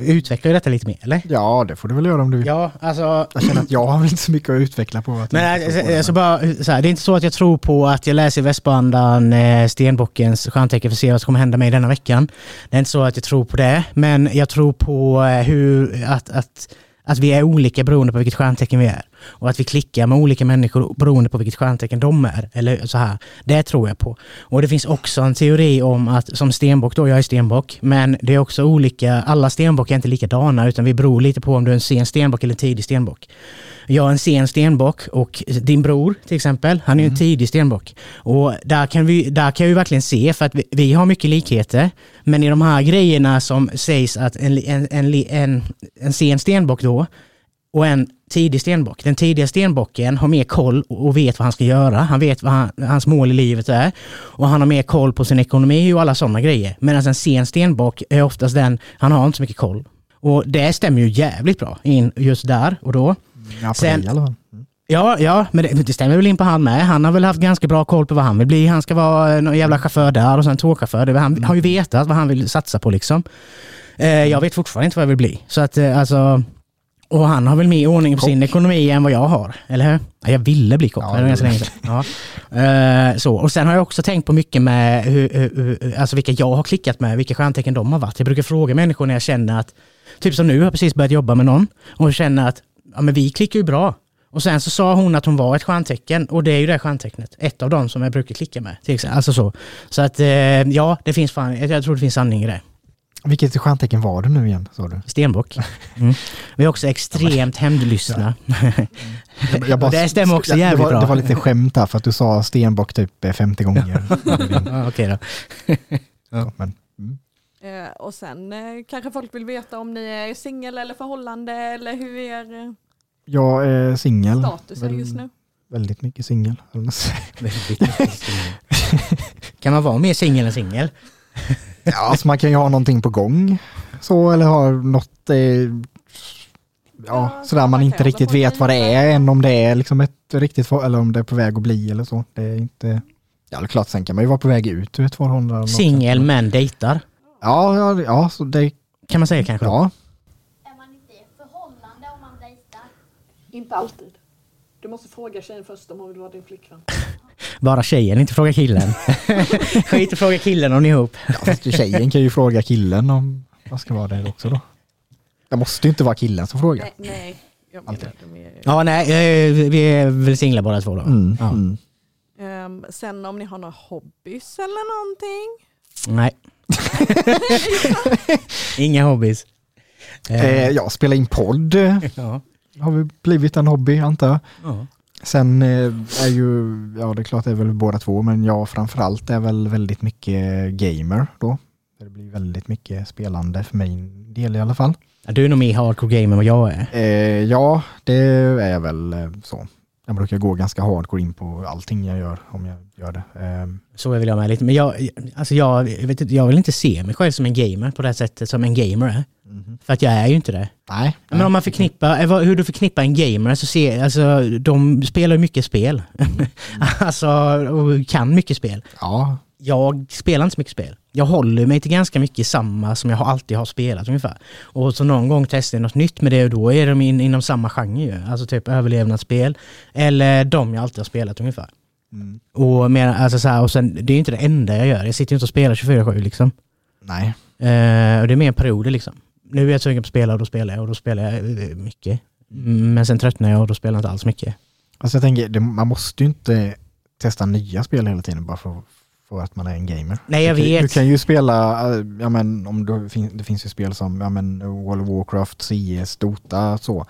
Utvecklar ju detta lite mer eller?
Ja, det får du väl göra om du vill.
Ja, alltså.
Jag känner att jag har väl inte så mycket att utveckla på. Att jag
Men
inte tror
alltså,
på det,
alltså bara, så här, det är inte så att jag tror på att jag läser i Västbandan eh, Stenbockens stjärntecken för att se vad som kommer hända mig denna veckan. Det är inte så att jag tror på det, men jag tror på eh, hur, att, att, att vi är olika beroende på vilket stjärntecken vi är. Och att vi klickar med olika människor beroende på vilket stjärntecken de är. Eller så här. Det tror jag på. Och det finns också en teori om att, som stenbock då, jag är stenbock, men det är också olika, alla stenbockar är inte likadana utan vi beror lite på om du är en sen stenbock eller en tidig stenbock. Jag är en sen stenbock och din bror till exempel, han är ju en tidig stenbock. Och där kan, vi, där kan jag ju verkligen se, för att vi, vi har mycket likheter, men i de här grejerna som sägs att en, li- en, en, li- en, en sen stenbock då, och en tidig stenbock. Den tidiga stenbocken har mer koll och vet vad han ska göra. Han vet vad han, hans mål i livet är och han har mer koll på sin ekonomi och alla sådana grejer. Medan en sen stenbock är oftast den, han har inte så mycket koll. Och det stämmer ju jävligt bra in just där och då.
Ja, på
Sen-
dig i alla fall. Mm.
Ja, ja, men det, det stämmer väl in på han med. Han har väl haft ganska bra koll på vad han vill bli. Han ska vara eh, någon jävla chaufför där och sen tågchaufför. Det- Han har ju vetat vad han vill satsa på liksom. Eh, jag vet fortfarande inte vad jag vill bli. Så att eh, alltså... Och han har väl mer ordning på sin ekonomi än vad jag har, eller hur? Ja, jag ville bli kock,
Ja,
men det var ganska
det-
länge sedan. Ja. Eh, så. Och sen har jag också tänkt på mycket med hur, hur, hur, alltså vilka jag har klickat med, vilka stjärntecken de har varit. Jag brukar fråga människor när jag känner att, typ som nu, jag har precis börjat jobba med någon och känner att ja, men vi klickar ju bra. Och sen så sa hon att hon var ett stjärntecken och det är ju det stjärntecknet. Ett av dem som jag brukar klicka med. Till exempel. Alltså så. så att eh, ja, det finns fan, jag tror det finns sanning i det.
Vilket stjärntecken var du nu igen, sa du?
Stenbock.
(laughs)
Mm. Vi är också extremt hämndlystna.
(laughs) Jag,
Och det stämmer också jävligt
det var,
bra.
Det var lite skämt här för att du sa stenbock typ eh, (laughs) 50 gånger.
Ja, Okej
(laughs)
då.
ja, men,
Eh, och sen eh, kanske folk vill veta om ni är singel eller förhållande eller hur er eh,
jag är singel.
status är
Väl-
just nu.
Väldigt mycket singel. höll man sig.
Väldigt mycket singel. Kan man vara mer singel än singel?
Ja, (laughs) alltså man kan ju ha någonting på gång. Så, eller ha något, eh, ja,
Ja,
sådär man
man
inte
kan
riktigt
hålla på
vet vad det är än om det är liksom ett riktigt, för- eller om det är på väg att bli eller så. Det är inte, ja det är klart, sen kan man ju vara på väg ut ur ett förhållande. eller något.
Singel men dejtar.
Ja, ja, ja så det
Kan man säga kanske?
Ja,
Är man inte i ett förhållande om man dejtar?
Inte alltid. Du måste fråga tjejen först om hon vill vara din flickvän.
Bara tjejen, inte fråga
(laughs)
killen. Skit i att fråga killen om ni är ihop.
ja fast du, tjejen kan ju fråga killen om vad ska vara det också då. Det måste ju inte vara killen som frågar.
Nej, nej. Jag menar det mer.
Ja, nej, eh, vi är väl singlar båda två då.
Mm,
Ja.
mm.
Ehm, sen om ni har några hobbys eller någonting.
(laughs)
Nej. Inga hobbies.
Eh, ja, spela in podd eh,
ja.
har vi blivit en hobby antar jag.
Ja.
Sen eh, är ju, ja det är klart det är väl båda två, men jag framförallt är väl väldigt mycket gamer då. Det blir väldigt mycket spelande för min del i alla fall.
Ja, Du är nog mer hardcore game än vad jag är.
Eh, ja, det är väl eh, så. Jag brukar gå ganska hardcore in på allting jag gör om jag gör det. Eh,
Så vill jag med lite. Men jag, alltså jag, jag vet, inte- jag vill inte se mig själv som en gamer på det här sättet som en gamer är. För att jag är ju inte det.
nej.
Men om man förknippar, eh, vad- hur du förknippar en gamer så ser, alltså de spelar ju mycket spel. (laughs) alltså, och kan mycket spel.
Ja,
jag spelar inte så mycket spel. Jag håller mig till ganska mycket samma som jag har- alltid har spelat ungefär. Och så någon gång testar jag något nytt med det och då är de in, inom samma genre ju. Alltså typ överlevnadsspel eller de jag alltid har spelat ungefär.
Mm.
Och, mer, alltså så här, och sen, det är ju inte det enda jag gör. Jag sitter ju inte och spelar 24-7 liksom.
nej.
Eh, och det är mer perioder liksom. Nu är jag sugen på att spela och då spelar jag och då spelar jag eh, mycket. Mm, Men sen tröttnar jag och då spelar jag inte alls mycket.
Alltså jag tänker, det, man måste ju inte testa nya spel hela tiden bara för, för att man är en gamer.
Nej jag
du, kan-
vet.
du kan ju spela, eh, ja men om du, fin- det finns ju spel som, ja men World of Warcraft, CS, Dota, så.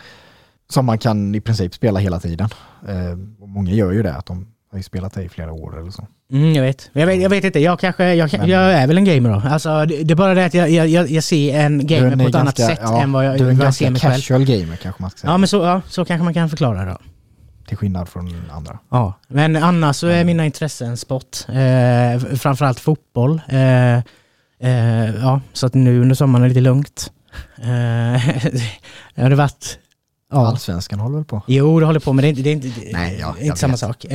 Som man kan i princip spela hela tiden. Eh, och många gör ju det, att de har ju spelat det i flera år eller så.
Mm, jag, vet. Jag, vet, jag vet inte, jag kanske, jag, kan- jag är väl en gamer då. Alltså, det, det är bara det att jag, jag, jag jag ser en
Du är
gamer
en
på ett annat
ganska-
sätt än vad jag,
Du är
vad
en
jag
ganska
ser mig själv.
casual gamer kanske man ska säga,
Ja, men så, ja, så kanske man kan förklara det då.
till skillnad från andra.
Ja. Men annars så
Mm.
är mina intressen sport, eh, f- framförallt fotboll. Eh, eh, ja, så att nu under sommaren är det lite lugnt. Eh, (laughs) det har det varit... Ja.
Allsvenskan håller väl på?
Jo, det håller på, men det är inte, det är inte, det-
Nej, ja,
det är
jag
inte samma
vet.
sak. Eh,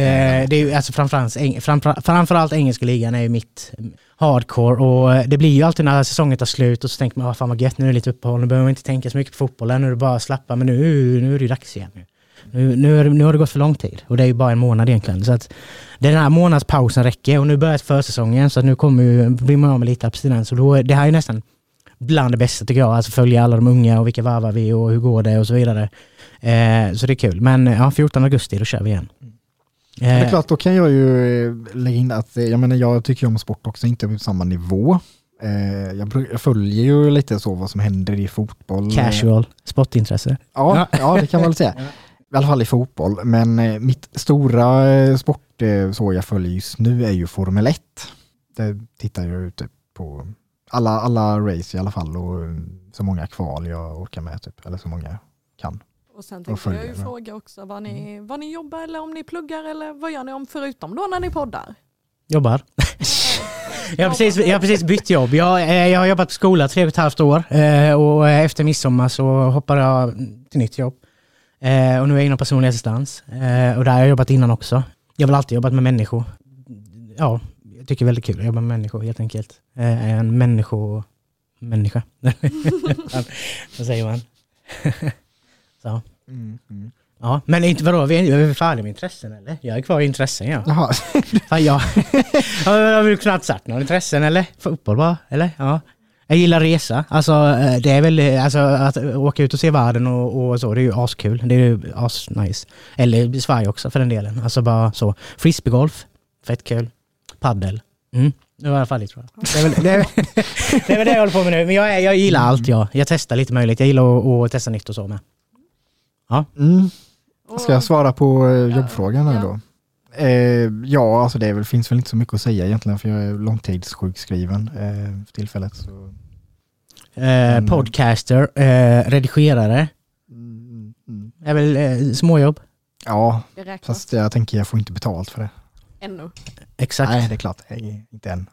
det är ju alltså framförallt, eng, framför, framförallt engelska ligan är ju mitt mm, hardcore och eh, det blir ju alltid när säsongen tar slut och så tänker man, ah, fan vad gött, nu är det lite uppehåll, nu behöver man inte tänka så mycket på fotbollen, nu är det bara att slappa, men nu, nu är det ju dags igen. Nu. Nu, nu, är det, nu har det gått för lång tid och det är ju bara en månad egentligen. Så att den här månadspausen räcker och nu börjar försäsongen så att nu kommer ju, blir man av med lite abstinens och då är, det här är ju nästan bland det bästa tycker jag, alltså följa alla de unga och vilka varvar vi och hur går det och så vidare. Eh, så det är kul. Men eh, ja, 14 augusti, då kör vi igen.
Men Mm. det
Eh,
är klart, då kan jag ju eh, lägga in att, eh, jag menar jag tycker ju om sport också, inte på samma nivå. Eh, Jag bru- jag följer ju lite så vad som händer i fotboll.
Casual, sportintresse.
Ja, (laughs) ja, det kan man väl säga. I alla fall i fotboll, men eh, mitt stora eh, sport eh, så jag följer just nu är ju Formel 1. Det tittar jag ute på alla, alla race i alla fall och eh, så många kval jag orkar med typ, eller så många kan.
Och sen tänkte
följer Mm.
jag ju
det.
fråga också vad ni, vad ni jobbar eller om ni pluggar eller vad gör ni om förutom då när ni poddar?
Jobbar. jag, har precis, jag har precis bytt jobb. Jag, eh, jag har jobbat på skola tre och ett halvt år eh, och eh, efter midsommar så hoppade jag till nytt jobb. Eh, och nu är jag inom personlig assistans eh, och där har jag jobbat innan också. Jag har väl alltid jobbat med människor. Ja, jag tycker det är väldigt kul att jobba med människor helt enkelt. Eh, jag är en människo... människa. (laughs) Vad säger man? så.
Mm,
Ja, men inte vadå, vi är vi är färdiga med intressen eller? Jag är kvar i intressen ja.
Jaha,
Fan, (laughs) jag har väl knappt sagt några intressen eller? Fotboll bara, eller? Ja. Jag gillar resa. Alltså, eh, det är väl, eh, alltså, att åka ut och se världen och, och så, det är ju askul. Det är ju asnice. Eller i Sverige också för den delen. Alltså bara så. Frisbeegolf, fett kul. Paddel. Mm. Det var i alla fall det tror jag. Det är väl (laughs) det, är, väl- det, är väl det jag håller på med nu. Men jag, är, jag gillar allt jag. Jag testar lite möjligt. Jag gillar att, att testa nytt och så med.
mm.
Och,
Ska jag svara på eh, jobbfrågan här
Ja.
då? Eh, ja, alltså det är väl, finns väl inte så mycket att säga egentligen för jag är långtidssjukskriven eh, för tillfället. Så.
Eh, podcaster, eh, redigerare.
Mm, mm.
Det är väl eh, småjobb.
Ja,
Det räknas
fast jag tänker jag får inte betalt för det.
ännu.
Exakt.
Nej, det är klart, Eh, inte än.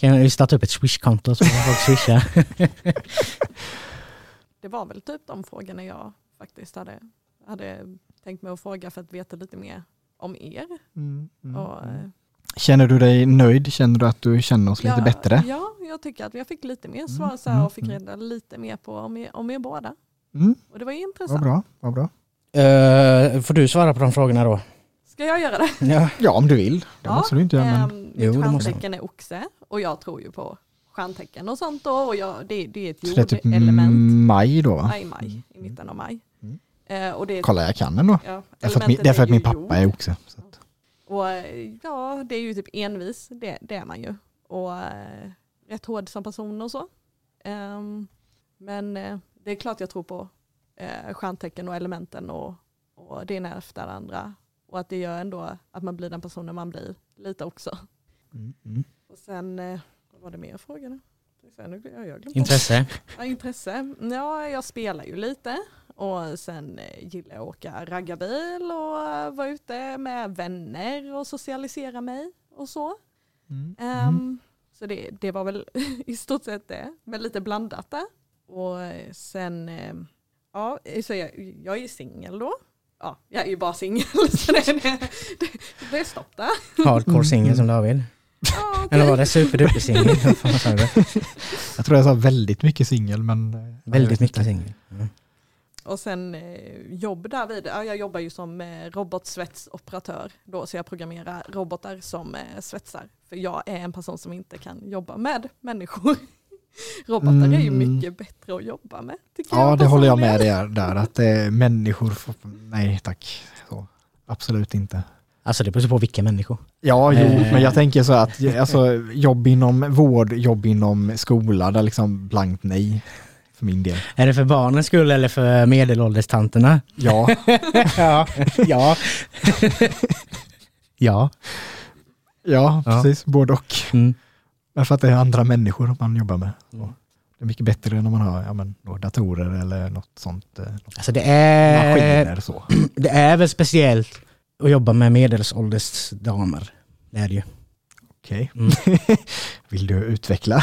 Kan vi starta upp ett Swish-konto så kan folk swisha?
Det var väl typ de frågorna jag faktiskt hade, mm.
Mm.
hade tänkt mig att fråga för att veta lite mer om er. Och, eh,
Känner du dig nöjd? Känner du att du känner oss lite
ja, Mm,
bättre?
Ja, jag tycker att jag fick lite mer svar
Mm,
så här,
mm,
och fick reda lite mer på om er, om er båda.
Mm,
Och det var ju
vad
intressant.
bra, vad bra.
(laughs) Eh, får du svara på de frågorna då?
Ska jag göra det?
Ja.
Ja, om du vill. Det
Ja,
måste du inte göra. Men...
Ehm,
Jo,
mitt
det måste
stjärntecken är oxe och jag tror ju på stjärntecken och sånt då. Och jag, det, det är ett
Så det är typ
jordelement.
maj då va?
Ja, I maj, i mitten av maj.
Mm.
Eh, och det, typ-
Kolla jag kan den då.
ja,
Därför att, min,
elementet
därför att
ju
min pappa
jord.
är oxe. Så att,
Och eh, ja, det är ju typ envis, det, det är man ju. Och eh, rätt hård som person och så. Ehm, men eh, det är klart jag tror på eh, stjärntecken och elementen och, och det ena efter det andra. Och att det gör ändå att man blir den personen man blir lite också.
mm, mm.
Och sen, eh, vad var det mer frågorna? Sen, nu, ja, jag har glömt bort.
Intresse?
Ja, intresse. Ja, jag spelar ju lite och sen eh, gillar jag att åka raggarbil och eh, vara ute med vänner och socialisera mig och så.
Mm.
Ehm,
Mm.
Så det, det var väl (laughs) i stort sett det, men lite blandat där. Och eh, sen, eh, ja, så jag, jag är ju singel då. Ja, jag är ju bara singel (laughs) så det, det, det, det är stopp där.
Hardcore singel som David?
Ja,
Eller
okej.
var det superduper singel? Vad fan sa (laughs) du?
Jag tror jag sa väldigt mycket singel men... eh, jag vet
Väldigt mycket
inte.
singel. Mm.
Och sen eh, jobb därvid, ja, jag jobbar ju som eh, robotsvetsoperatör då, så jag programmerar robotar som eh, svetsar. För jag är en person som inte kan jobba med människor. (laughs) Robotar är ju
Mm.
mycket bättre att jobba med. Tycker
Ja,
jag
det håller jag
personligen.
med dig där, där att eh, människor får... Nej tack. Så. Absolut inte.
Alltså det beror på vilka människor.
Ja, jo,
Eh.
men jag tänker så att alltså, jobb inom vård, jobb inom skola, där liksom blankt nej för min del.
Är det för barnens skull eller för medelålderstanterna?
Ja,
(laughs) ja. Ja. ja.
ja,
Ja.
precis, både och.
Mm.
Därför att det är andra människor man jobbar med.
Mm.
Och Det är mycket bättre när man har ja, men, då datorer eller något sånt. eh, Något
Alltså det är,
maskiner så.
(clears throat) det är väl speciellt att jobba med medelålders damer. Det är det ju.
Okej.
Mm.
(laughs) Vill du utveckla?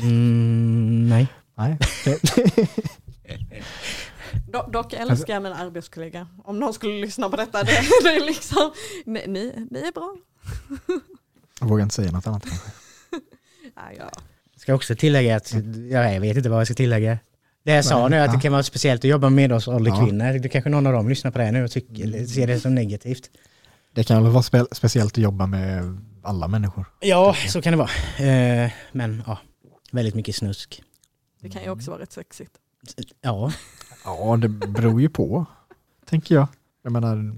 Mm, nej.
Nej.
Do, dock älskar jag mina arbetskollegor. Om någon skulle lyssna på detta, det, (laughs) det är liksom, ni, ni, ni är bra.
Jag vågar inte säga något annat.
Ja, ja.
Ska också tillägga att, ja, jag vet inte vad jag ska tillägga. Det jag sa
Nej,
nu är att
ja.
det kan vara speciellt att jobba med medelålders
Ja.
kvinnor. Det kanske någon av dem lyssnar på det här nu och tycker, eller ser det som negativt.
Det kan väl vara spe- speciellt att jobba med alla människor.
Ja, så kan det vara. Eh, Men ja, väldigt mycket snusk.
Det kan ju
Mm.
också vara rätt sexigt.
Ja,
Ja, det beror ju på, (laughs) tänker jag. Jag menar,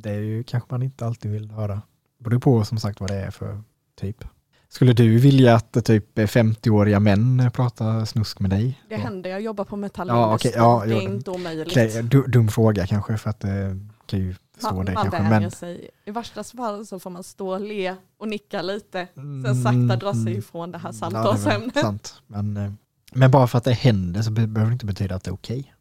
det är ju kanske man inte alltid vill höra. Det beror på som sagt vad det är för typ. Skulle du vilja att eh, typ 50-åriga män pratar snusk med dig?
Det
Ja.
händer, jag jobbar
Ja,
på
okej,
metallindustrin.
ja,
det
jo,
är
det-
inte omöjligt.
Okej, du- Dum fråga kanske för att det kan ju stå
Man,
det
man
kanske.
bär
Men,
sig. I värsta fall så får man stå och le och nicka lite. Sen sakta dra sig ifrån det här samtalsämnet.
Mm, Ja, det är väl sant. men, eh, men bara för att det händer så be- behöver det inte betyda att det är okej.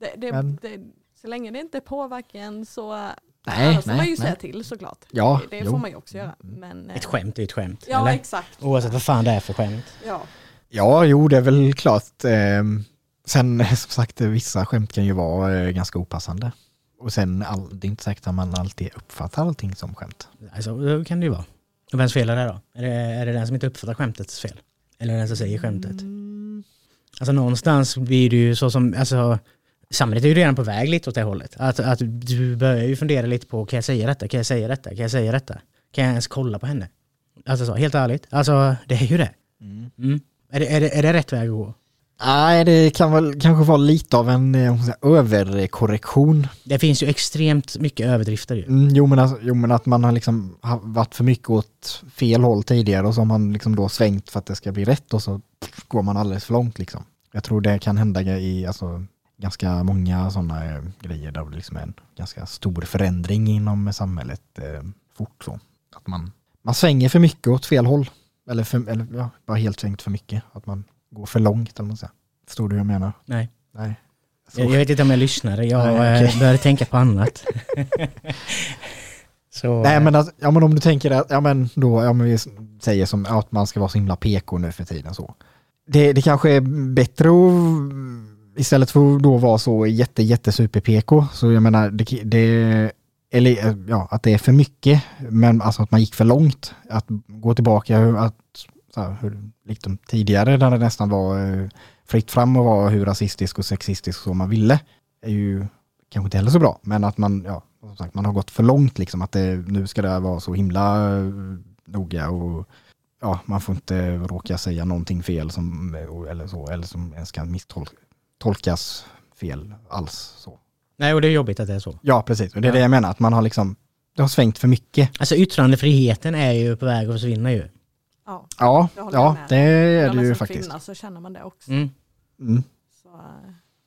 Det, det,
Men-
det, så länge det inte påverkar en så
Nej,
annars får man
nej,
ju säga
nej.
till såklart.
Ja,
det det
jo.
får man ju också göra.
Mm.
Men, eh,
ett skämt är ju ett skämt.
Ja,
eller?
exakt.
Oavsett vad fan det är för skämt.
Ja.
Ja, jo, det är väl klart. Ehm, Sen (laughs) eh, som sagt, eh, vissa skämt kan ju vara eh, ganska opassande. Och sen, all, det är inte säkert att man alltid uppfattar allting som skämt.
Alltså, det kan det ju vara. Och vems fel är det då? Är det, är det den som inte uppfattar skämtets fel? Eller den som säger skämtet?
Mm.
Alltså någonstans blir det ju så som, alltså samhället är ju redan på väg lite åt det hållet. Att, att du börjar ju fundera lite på, kan jag säga detta? Kan jag säga detta? Kan jag säga detta? Kan jag ens kolla på henne? Alltså så, helt ärligt. Alltså, det är ju det.
Mm.
Mm. Är, det, är, det är det rätt väg att gå?
Nej, det kan väl kanske vara lite av en eh, om man säger, överkorrektion.
Det finns ju extremt mycket överdrifter ju.
Mm, jo, men alltså, jo, men att man har liksom ha- varit för mycket åt fel håll tidigare och så har man liksom då svängt för att det ska bli rätt och så pff, går man alldeles för långt liksom. Jag tror det kan hända i alltså, ganska många sådana eh, grejer där det liksom är en ganska stor förändring inom samhället eh, fort så. Att man, man svänger för mycket åt fel håll. Eller, för, eller ja, bara helt svängt för mycket. Att man går för långt eller vad man säger. Förstår du hur jag menar?
Nej.
Nej. Så.
Jag, jag vet inte om jag lyssnade, jag
Nej,
eh,
okej.
började tänka på
(laughs)
annat. så,
Nej men, att, ja, men om du tänker att, ja men då, ja men vi säger som att man ska vara så himla PK nu för tiden så. Det, det kanske är bättre att, istället för att då vara så jätte jätte super PK, så jag menar det, det eller eh, ja, att det är för mycket, men alltså att man gick för långt. Att gå tillbaka, hur- att, så här, hur, liksom tidigare där det nästan var eh, fritt fram och vara hur rasistisk och sexistisk som man ville, är ju kanske inte heller så bra, men att man, ja, som sagt, man har gått för långt liksom, att det, nu ska det här vara så himla eh, noga och ja, man får inte råka säga någonting fel som, eh, eller så, eller som ens kan misstolkas fel alls. Så.
Nej, och det är jobbigt att det är så.
Ja, precis. Och det är det jag menar, att man har liksom, det har svängt för mycket.
Alltså yttrandefriheten är ju på väg att försvinna ju.
Ja,
Ja,
Det håller jag
ja
med.
det är
men
det ju
som
faktiskt.
kvinna så känner man det också.
Mm.
Mm.
Så, eh,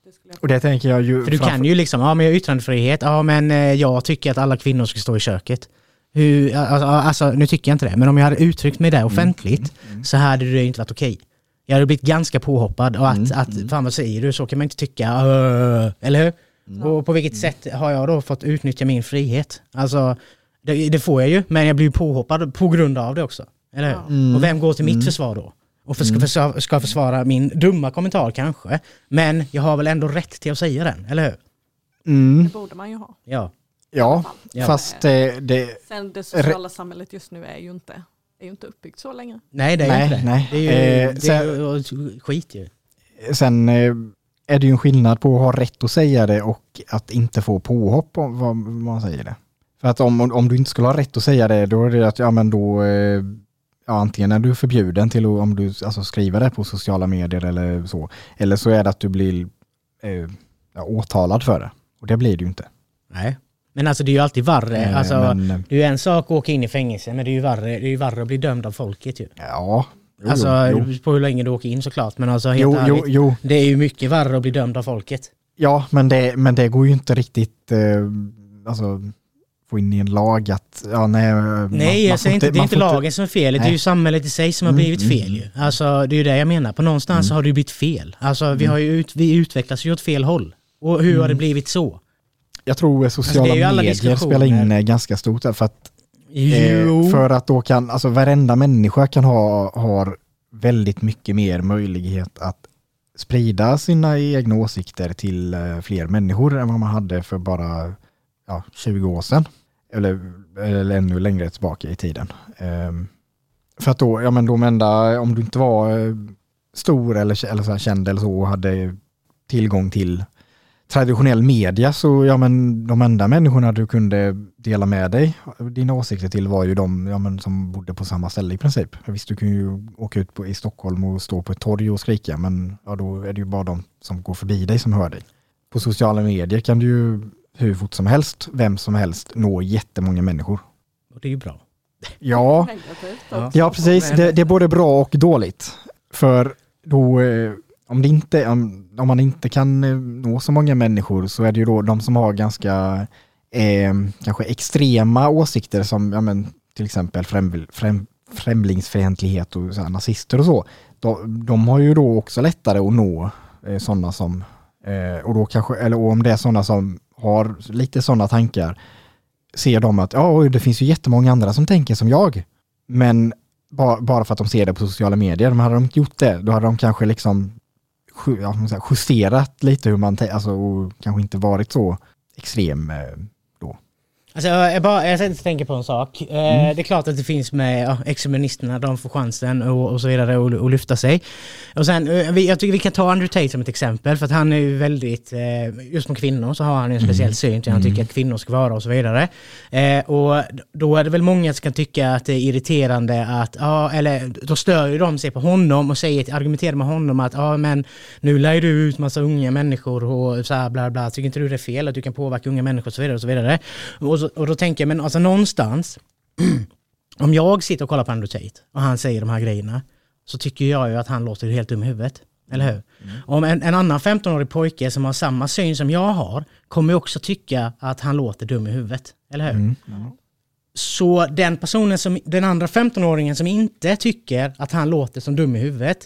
det skulle jag
Och det tänker jag ju...
För du
framför-
kan ju liksom, ja men jag har yttrandefrihet, ja men eh, jag tycker att alla kvinnor ska stå i köket. Hur, alltså, alltså nu tycker jag inte det, men om jag hade uttryckt mig där
Mm.
offentligt så hade det ju inte varit okej. Jag hade blivit ganska påhoppad och att,
Mm.
att fan vad säger du, så kan man inte tycka, "Öh", eller hur? Och på vilket sätt har jag då fått utnyttja min frihet? Alltså, det, det får jag ju, men jag blir ju påhoppad på grund av det också. Eller hur?
Mm.
Och vem går till mitt försvar då? Och för, ska, försvara, ska försvara min dumma kommentar kanske, men jag har väl ändå rätt till att säga den, eller hur?
Mm.
Det borde man ju ha.
Ja.
Ja,
Ja.
fast eh, det... det
Sen det sociala samhället just nu är ju inte, är ju inte uppbyggt så länge.
Nej, det är
Nej,
ju inte det.
nej.
Det är ju,
Eh,
det är ju skit ju.
sen eh, är det ju en skillnad på att ha rätt att säga det och att inte få påhopp om vad vad man säger det. För att om, om du inte skulle ha rätt att säga det, då är det att ja men då, eh, ja, antingen är du förbjuden till att om du alltså, skriver det på sociala medier eller så, eller så är det att du blir eh, ja, åtalad för det. Och det blir du ju inte.
Nej. Men alltså det är ju alltid värre,
Eh,
alltså,
men, eh,
det är ju en sak att åka in i fängelse, men det är ju värre, det är ju värre att bli dömd av folket ju.
ja, jo,
alltså
jo,
på hur länge du åker in såklart, men alltså helt
jo,
ärligt,
jo, jo,
det är ju mycket värre att bli dömd av folket.
Ja, men det, men det går ju inte riktigt eh, alltså, få in i en lag att, ja nej. Mm. man-
Nej, jag
man får
säger inte, det är
man
inte
får
lagen som är felet, det är
Nej.
ju samhället i sig som har
Mm,
blivit
mm,
fel ju. Alltså det är ju det jag menar, på någonstans har det ju blivit fel. Alltså vi,
Mm.
har ju ut, vi utvecklas ju åt fel håll. Och hur har det blivit så?
Jag tror
Alltså,
sociala
det är ju alla
medier spelar in
diskussioner.
eh, ganska stort där, för att, eh,
Jo,
för att då kan, alltså varenda människa kan ha, har väldigt mycket mer möjlighet att sprida sina egna åsikter till eh, fler människor än vad man hade för bara ja, 20 år sedan. Eller, eller ännu längre tillbaka i tiden. Ehm, för att då, ja men de enda, om du inte var eh, stor eller, eller så här, känd eller så och hade tillgång till traditionell media så, ja men de enda människorna du kunde dela med dig, dina åsikter till var ju de ja, men, som bodde på samma ställe i princip. Visst, du kan ju åka ut på, i Stockholm och stå på ett torg och skrika, men ja, då är det ju bara de som går förbi dig som hör dig. På sociala medier kan du ju hur fort som helst, vem som helst, nå jättemånga människor.
och det är ju bra.
Ja,
Negativt
Ja.
också.
Ja, precis. Det, det är både bra och dåligt. För då, eh, om, det inte, om, om man inte kan eh, nå så många människor så är det ju då de som har ganska eh, kanske extrema åsikter som ja, men, till exempel främl, främ, främlingsfientlighet och så här, nazister och så. De, de har ju då också lättare att nå eh, sådana som, eh, och då kanske, eller om det är sådana som har lite sådana tankar, ser de att ja, oj, det finns ju jättemånga andra som tänker som jag. Men bara, bara för att de ser det på sociala medier, men hade de inte gjort det, då hade de kanske liksom ju- ja, vad ska man säga, justerat lite hur man tänker, alltså, och kanske inte varit så extrem. eh,
Alltså, jag, bara, jag tänkte tänka på en sak. Eh,
Mm.
Det är klart att det finns med ja, exministerna, de får chansen och, och så vidare och, och lyfta sig. Och sen, eh, vi, jag tycker vi kan ta Andrew Tate som ett exempel för att han är ju väldigt, eh, just på kvinnor så har han ju en speciell syn till hur han tycker att kvinnor ska vara och så vidare. Eh, och då är det väl många som kan tycka att det är irriterande att, ja, eller då stör ju de sig på honom och säger, argumenterar med honom att, ja men nu lär ju du ut massa unga människor och så här bla bla, tycker inte du det är fel att du kan påverka unga människor och så vidare och så vidare. Och, så, och då tänker jag, men alltså någonstans, (clears throat) om jag sitter och kollar på Andrew Tate och han säger de här grejerna, så tycker jag ju att han låter helt dum i huvudet. Eller hur? Om en, en annan 15-årig pojke som har samma syn som jag har kommer ju också tycka att han låter dum i huvudet. Eller hur? Så den personen som, den andra 15-åringen som inte tycker att han låter som dum i huvudet,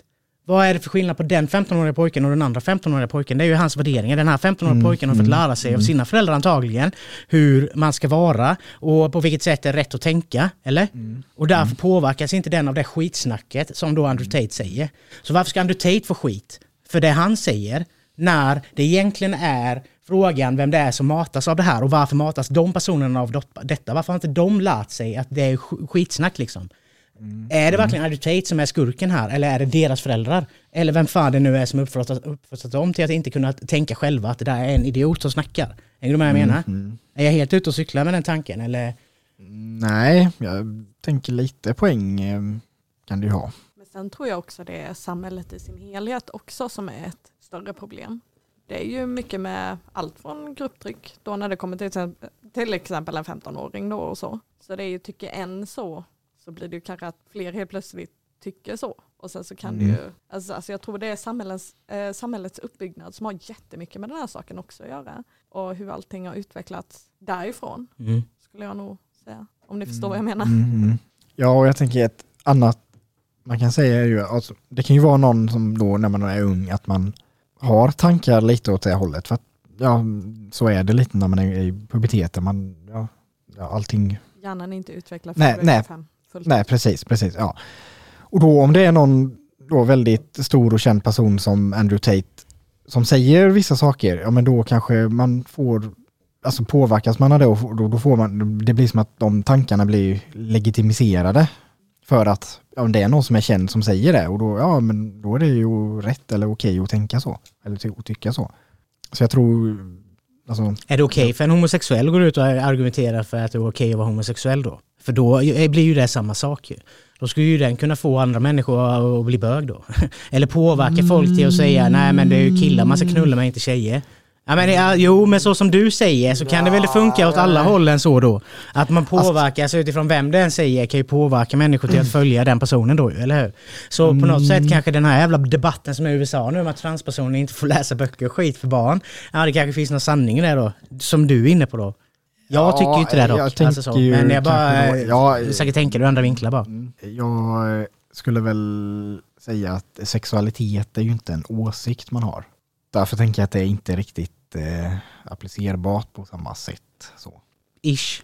vad är det för skillnad på den 15-åriga pojken och den andra 15-åriga pojken? Det är ju hans värderingar. Den här 15-åriga pojken har fått lära sig av sina föräldrar antagligen hur man ska vara och på vilket sätt det är rätt att tänka, eller? Och därför påverkas inte den av det skitsnacket som då Andrew Tate säger. Så varför ska Andrew Tate få skit för det han säger när det egentligen är frågan vem det är som matas av det här och varför matas de personerna av dot- detta? Varför har inte de lärt sig att det är sk- skitsnack liksom? Är det verkligen Andrew Tate som är skurken här eller är det deras föräldrar? Eller vem fan det nu är som uppfostrat uppfostrat dem till att inte kunna tänka själva att det där är en idiot som snackar. Är du med vad jag menar? Är jag helt ute och cyklar med den tanken eller?
Nej, jag tänker lite poäng eh, kan du ju ha.
Men sen tror jag också det är samhället i sin helhet också som är ett större problem. Det är ju mycket med allt från grupptryck då när det kommer till exempel, till exempel en 15-åring då och så. Så det är ju tycker en så så blir det ju kanske att fler helt plötsligt tycker så. Och sen så kan
Mm.
det ju, alltså, alltså jag tror det är samhällets, eh, samhällets uppbyggnad som har jättemycket med den här saken också att göra. Och hur allting har utvecklats därifrån skulle jag nog säga. Om ni förstår vad jag menar.
Mhm. Ja, och jag tänker ett annat man kan säga är ju, alltså, det kan ju vara någon som då när man är ung att man har tankar lite åt det hållet. För att, ja, så är det lite när man är i puberteten. Man, ja, ja, allting
Hjärnan är inte utvecklad
Nej,
vecka
nej.
fem fullt
Nej, precis, precis. Ja. Och då om det är någon då väldigt stor och känd person som Andrew Tate som säger vissa saker, ja men då kanske man får, alltså påverkas man av det och får- då, då får man, det blir som att de tankarna blir legitimiserade för att ja, om det är någon som är känd som säger det och då, ja men då är det ju rätt eller okej att tänka så, eller ty- att tycka så. Så jag tror, alltså,
Är det okej för en homosexuell att gå ut och argumentera för att det är okej att vara homosexuell då? För då ju- blir ju det samma sak ju. Då skulle ju den kunna få andra människor att bli bög då. (laughs) Eller påverka folk till att säga
Mm.
nej men det är ju killar man ska knulla med, inte tjejer. Ja, men, ja, jo men så som du säger så kan det väl funka åt alla hållen så då. Att man
Alltså-
påverkas utifrån vem den säger kan ju påverka människor
(clears throat)
till att följa den personen då ju, eller hur? Så på något sätt
Mm.
kanske den här jävla debatten som är i USA nu om att transpersoner inte får läsa böcker och skit för barn. Ja det kanske finns någon sanning i det då, som du är inne på då. Jag
Ja,
tycker ju inte det dock. alltså
jag tänker
så.
ju
Men jag bara, eh,
kanske då- ja,
ja, säkert tänker du andra vinklar bara.
jag eh, skulle väl säga att sexualitet är ju inte en åsikt man har. Därför tänker jag att det är inte riktigt eh, applicerbart på samma sätt. Så.
Ish.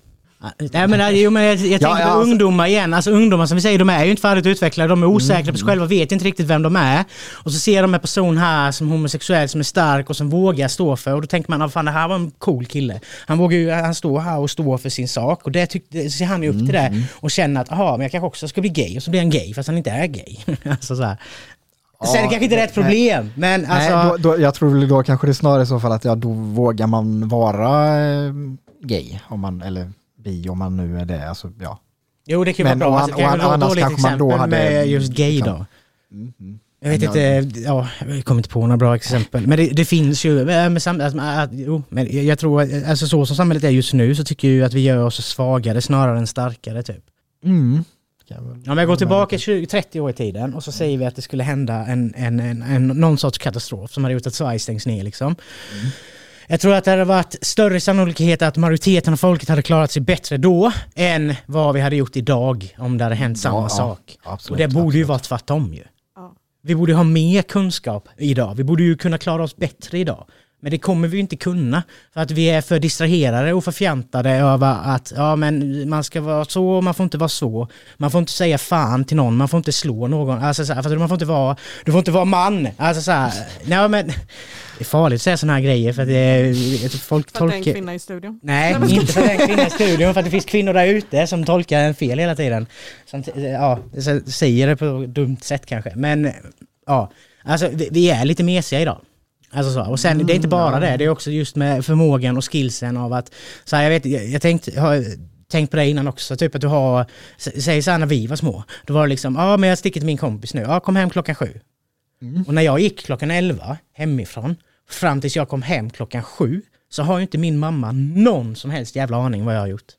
Nej, men, jo, men jag, jag tänker
ja,
på
alltså- Mm,
ungdomar igen. Alltså ungdomar som vi säger, de är ju inte färdigt utvecklade, de är osäkra på sig själva, vet inte riktigt vem de är. Och så ser de en person här som homosexuell, som är stark och som vågar stå för, och då tänker man, ah, fan det här var en cool kille. Han vågar ju, han står här och står för sin sak, och det tyckte, ser han ju upp till
Mm,
det. Och känner att, aha, men jag kanske också ska bli gay, och så blir han gay, fast han inte är gay. (laughs) alltså så här. Sen är det
Ja,
kanske inte
nej,
rätt problem, men alltså...
Nej, då, då, jag tror väl då kanske det är snarare i så fall att ja, då vågar man vara eh, gay, om man, eller bi om man nu är det. Alltså, ja.
Jo det kan ju
Men
vara
å
bra,
an-
alltså, det
å
kan
an-
ju vara ett
annars
dåligt
kanske man
exempel
då hade-
med just gay
liksom.
då. Jag vet inte, ja, jag kommer inte på några bra exempel. Men det, det finns ju, eh, men, men sam- att, att, jo, men jag- jag tror, att- alltså så som samhället är just nu så tycker jag ju att vi gör oss svagare snarare än starkare typ.
Mm. Kan jag väl-
Om jag går tillbaka 20, 30 år i tiden och så säger vi att det skulle hända en, en, en, en, någon sorts katastrof som hade gjort att Sverige stängs ner. Liksom. Jag tror att det hade varit större sannolikhet att majoriteten av folket hade klarat sig bättre då än vad vi hade gjort idag om det hade hänt samma
ja,
sak.
absolut,
och det borde ju
absolut.
vara tvärtom ju.
Ja.
Vi borde ha mer kunskap idag. Vi borde ju kunna klara oss bättre idag. Men det kommer vi ju inte kunna. För att vi är för distraherade och förfjantade över att ja, men man ska vara så och man får inte vara så. Man får inte säga fan till någon, man får inte slå någon. Alltså, så här, fattar du? man får inte vara, du får inte vara man. Alltså, så här, nej, men, det är farligt att säga sådana här grejer för att det är, jag tror folk
För att det är en
tolkar-
kvinna i studion.
Nej, inte för den kvinnan i studion, för att det finns kvinnor där ute som tolkar en fel hela tiden. Som t- eh, ja, så säger det på ett dumt sätt kanske. Men eh, ja, alltså vi, vi är lite mesiga idag. Alltså så. Och sen, det är inte
Mm,
bara det, det är också just med förmågan och skillsen av att, så här, jag vet, jag, jag tänkte, jag har tänkt på det innan också, typ att du har, sä- säg så här när vi var små, då var det liksom, ja men jag sticker till min kompis nu, ja kom hem klockan sju.
Mm.
Och när jag gick klockan 11 hemifrån, fram tills jag kom hem klockan 7, så har ju inte min mamma någon som helst jävla aning vad jag har gjort.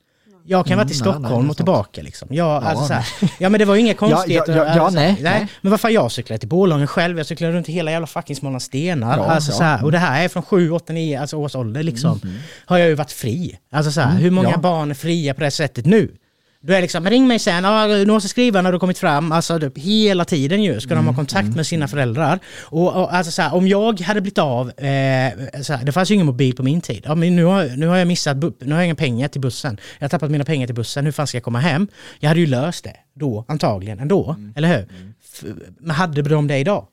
Jag kan vara till
Mm, nej,
Stockholm
nej, det är
och tillbaka liksom. Jag, alltså, så här, ja men det var ju inga konstigheter.
(laughs) ja, ja, ja,
alltså,
nej,
nej.
nej.
Men varför jag cyklade till Borlänge själv, jag cyklade runt hela jävla fucking Småland Stenar.
Ja,
alltså,
ja.
så här, och det här är från 7, 8, 9 alltså års ålder liksom. Har jag ju varit fri. Alltså så här, hur många
ja.
barn är fria på det sättet nu? Du är liksom, ring mig sen, ah, nu måste jag skriva när du kommit fram. Alltså typ, hela tiden ju ska de ha kontakt med sina föräldrar. Och, och alltså så här, om jag hade blivit av, eh, så här, det fanns ju ingen mobil på min tid. Ja, men nu, har, nu har jag missat, bu- nu har jag inga pengar till bussen. Jag har tappat mina pengar till bussen, hur fan ska jag komma hem? Jag hade ju löst det då, antagligen ändå, eller hur? F- men hade de det idag?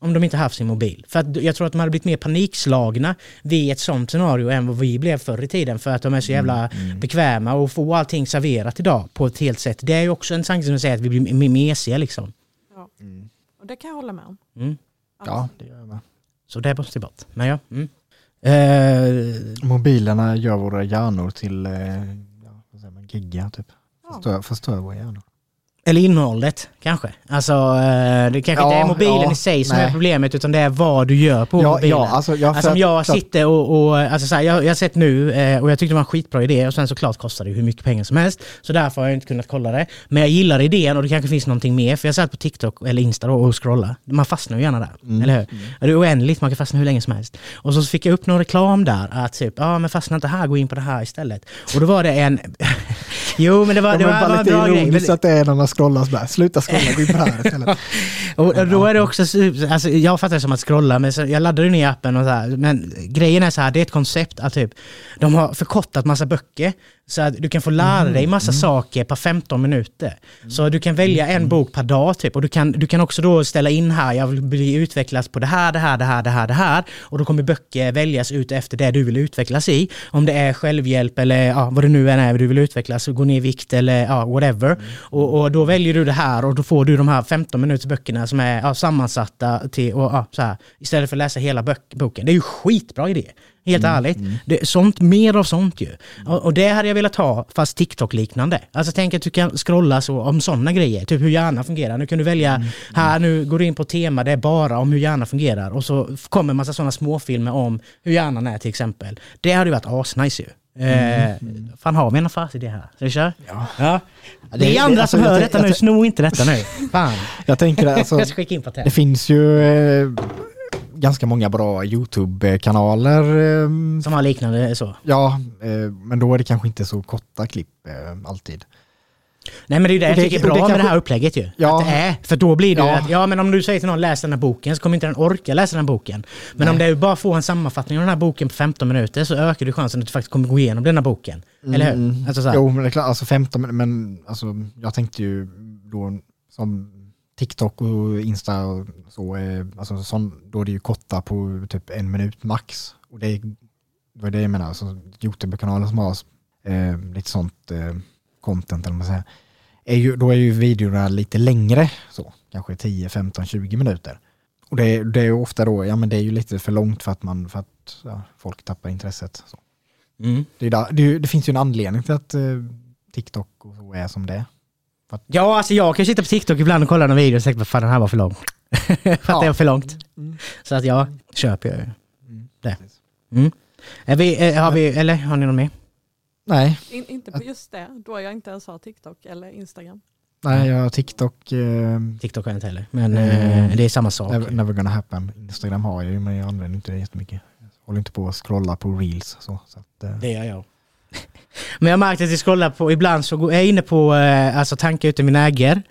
Om de inte haft sin mobil. För att jag tror att de hade blivit mer panikslagna vid ett sånt scenario än vad vi blev förr i tiden. För att de är så jävla
Mm,
bekväma och får allting serverat idag på ett helt sätt. Det är ju också en tanke som jag säger att vi blir m- mesiga liksom.
Och det kan jag hålla med om.
Mm.
Ja, det gör jag med.
Så det måste bort. Men ja. Mm. Eh,
Mobilerna gör våra hjärnor till eh, ja, vad säger man, gigga typ. Förstör, förstör våra hjärnor.
Eller innehållet kanske. Alltså eh, det kanske inte
Ja,
är mobilen
ja,
i sig som är
nej.
problemet utan det är vad du gör på
Ja,
mobilen.
ja, alltså, ja, för
Alltså om
att-
jag
för att-
sitter och, och alltså så här, jag, jag har sett nu eh, och jag tyckte det var en skitbra idé och sen såklart kostar det ju hur mycket pengar som helst. Så därför har jag inte kunnat kolla det. Men jag gillar idén och det kanske finns någonting mer för jag satt på TikTok eller Insta då och scrollade. Man fastnar ju gärna där,
Mm.
eller hur? Det är oändligt, man kan fastna hur länge som helst. Och så fick jag upp någon reklam där att typ, ja men fastna inte här, gå in på det här istället. Och då var det en... (laughs) jo men det var,
Ja,
det
men
var,
bara
var en
lite
bra grej. Men-
ironiskt att det är när man scrollar så bara, sluta scrolla, gå in på det här
(laughs)
istället.
Och och då är det också, så- alltså, jag fattar det som att scrolla, men så, jag laddade ju ner appen och så här, men grejen är så här, det är ett koncept att typ, de har förkortat massa böcker så att du kan få lära dig massa saker på 15 minuter. Så du kan välja en bok per dag typ och du kan, du kan också då ställa in här, jag vill bli utvecklas på det här, det här, det här, det här, det här och då kommer böcker väljas ut efter det du vill utvecklas i. Om det är självhjälp eller ja, vad det nu än är du vill utvecklas, gå ner i vikt eller ja, whatever. Och, och då väljer du det här och då får du de här 15 minuters böckerna som är ja, sammansatta till, och, ja, så här, istället för att läsa hela böck, boken. Det är ju skitbra idé. Helt ärligt. Det, sånt, mer av sånt ju. Och, och det hade jag velat ha, fast TikTok-liknande. Alltså tänk att du kan scrolla så om sådana grejer, typ hur hjärnan fungerar. Nu kan du välja, här nu går du in på ett tema, det är bara om hur hjärnan fungerar. Och så f- kommer en massa sådana småfilmer om hur hjärnan är till exempel. Det hade ju varit asnice ju. Eh, Fan har vi en affärsidé här? Ska vi köra? Ja. Det,
det-
är andra
alltså,
som
jag
hör
tänk-
detta
jag
nu,
tänk-
sno inte detta
(laughs)
nu. Fan.
Jag tänker det, alltså,
Jag ska skicka in
det
patent.
finns ju eh, ganska många bra YouTube-kanaler. Eh,
Som har liknande så.
ja, eh, men då är det kanske inte så korta klipp eh, alltid.
Nej men det är ju det jag
Och det-
tycker är bra
och det
med det
kanske-
här upplägget ju.
Ja.
Att det är, för då blir det ju
Ja.
att, ja men om du säger till någon läs den här boken så kommer inte den orka läsa den här boken. Men om det bara får en sammanfattning av den här boken på 15 minuter så ökar du chansen att du faktiskt kommer gå igenom den här boken. Eller hur? Alltså så här.
Mm. Jo, men det är klart, alltså 15, min- men alltså, jag tänkte ju då som TikTok och Insta och så, eh, alltså, sån, då är det ju korta på typ en minut max. Och det är det var det jag menar, alltså, YouTube-kanaler som har eh, lite sånt eh, content, eller vad man säger, är ju, då är ju videorna lite längre, så, kanske 10, 15, 20 minuter. Och det, är- det är ju ofta då, ja men det är ju lite för långt för att, man, för att ja, folk tappar intresset. Så.
Mm.
Det, är där, det, är ju- det finns ju en anledning till att eh, TikTok och så är som det är.
Ja alltså jag kan ju sitta på TikTok ibland och kolla någon video och tänka vad fan den här var för lång. (laughs) för att
Ja. Mm.
det var för långt. Så att ja, köper jag ju. Det.
precis.
Mm. Är vi, eh, har vi, eller har ni någon mer?
Nej,
In, inte på just det, då jag inte ens har TikTok eller Instagram.
Mm.
nej jag har TikTok, eh,
TikTok har jag inte heller. Men
Mm.
eh, det är samma sak.
never, never gonna happen. Instagram har jag ju men jag använder inte det jättemycket. Jag håller inte på att scrolla på reels så. så att, eh,
Det gör jag. (laughs) Men jag märkte att jag scrollar på, ibland så går jag inne på eh, alltså tankar ute i min äger,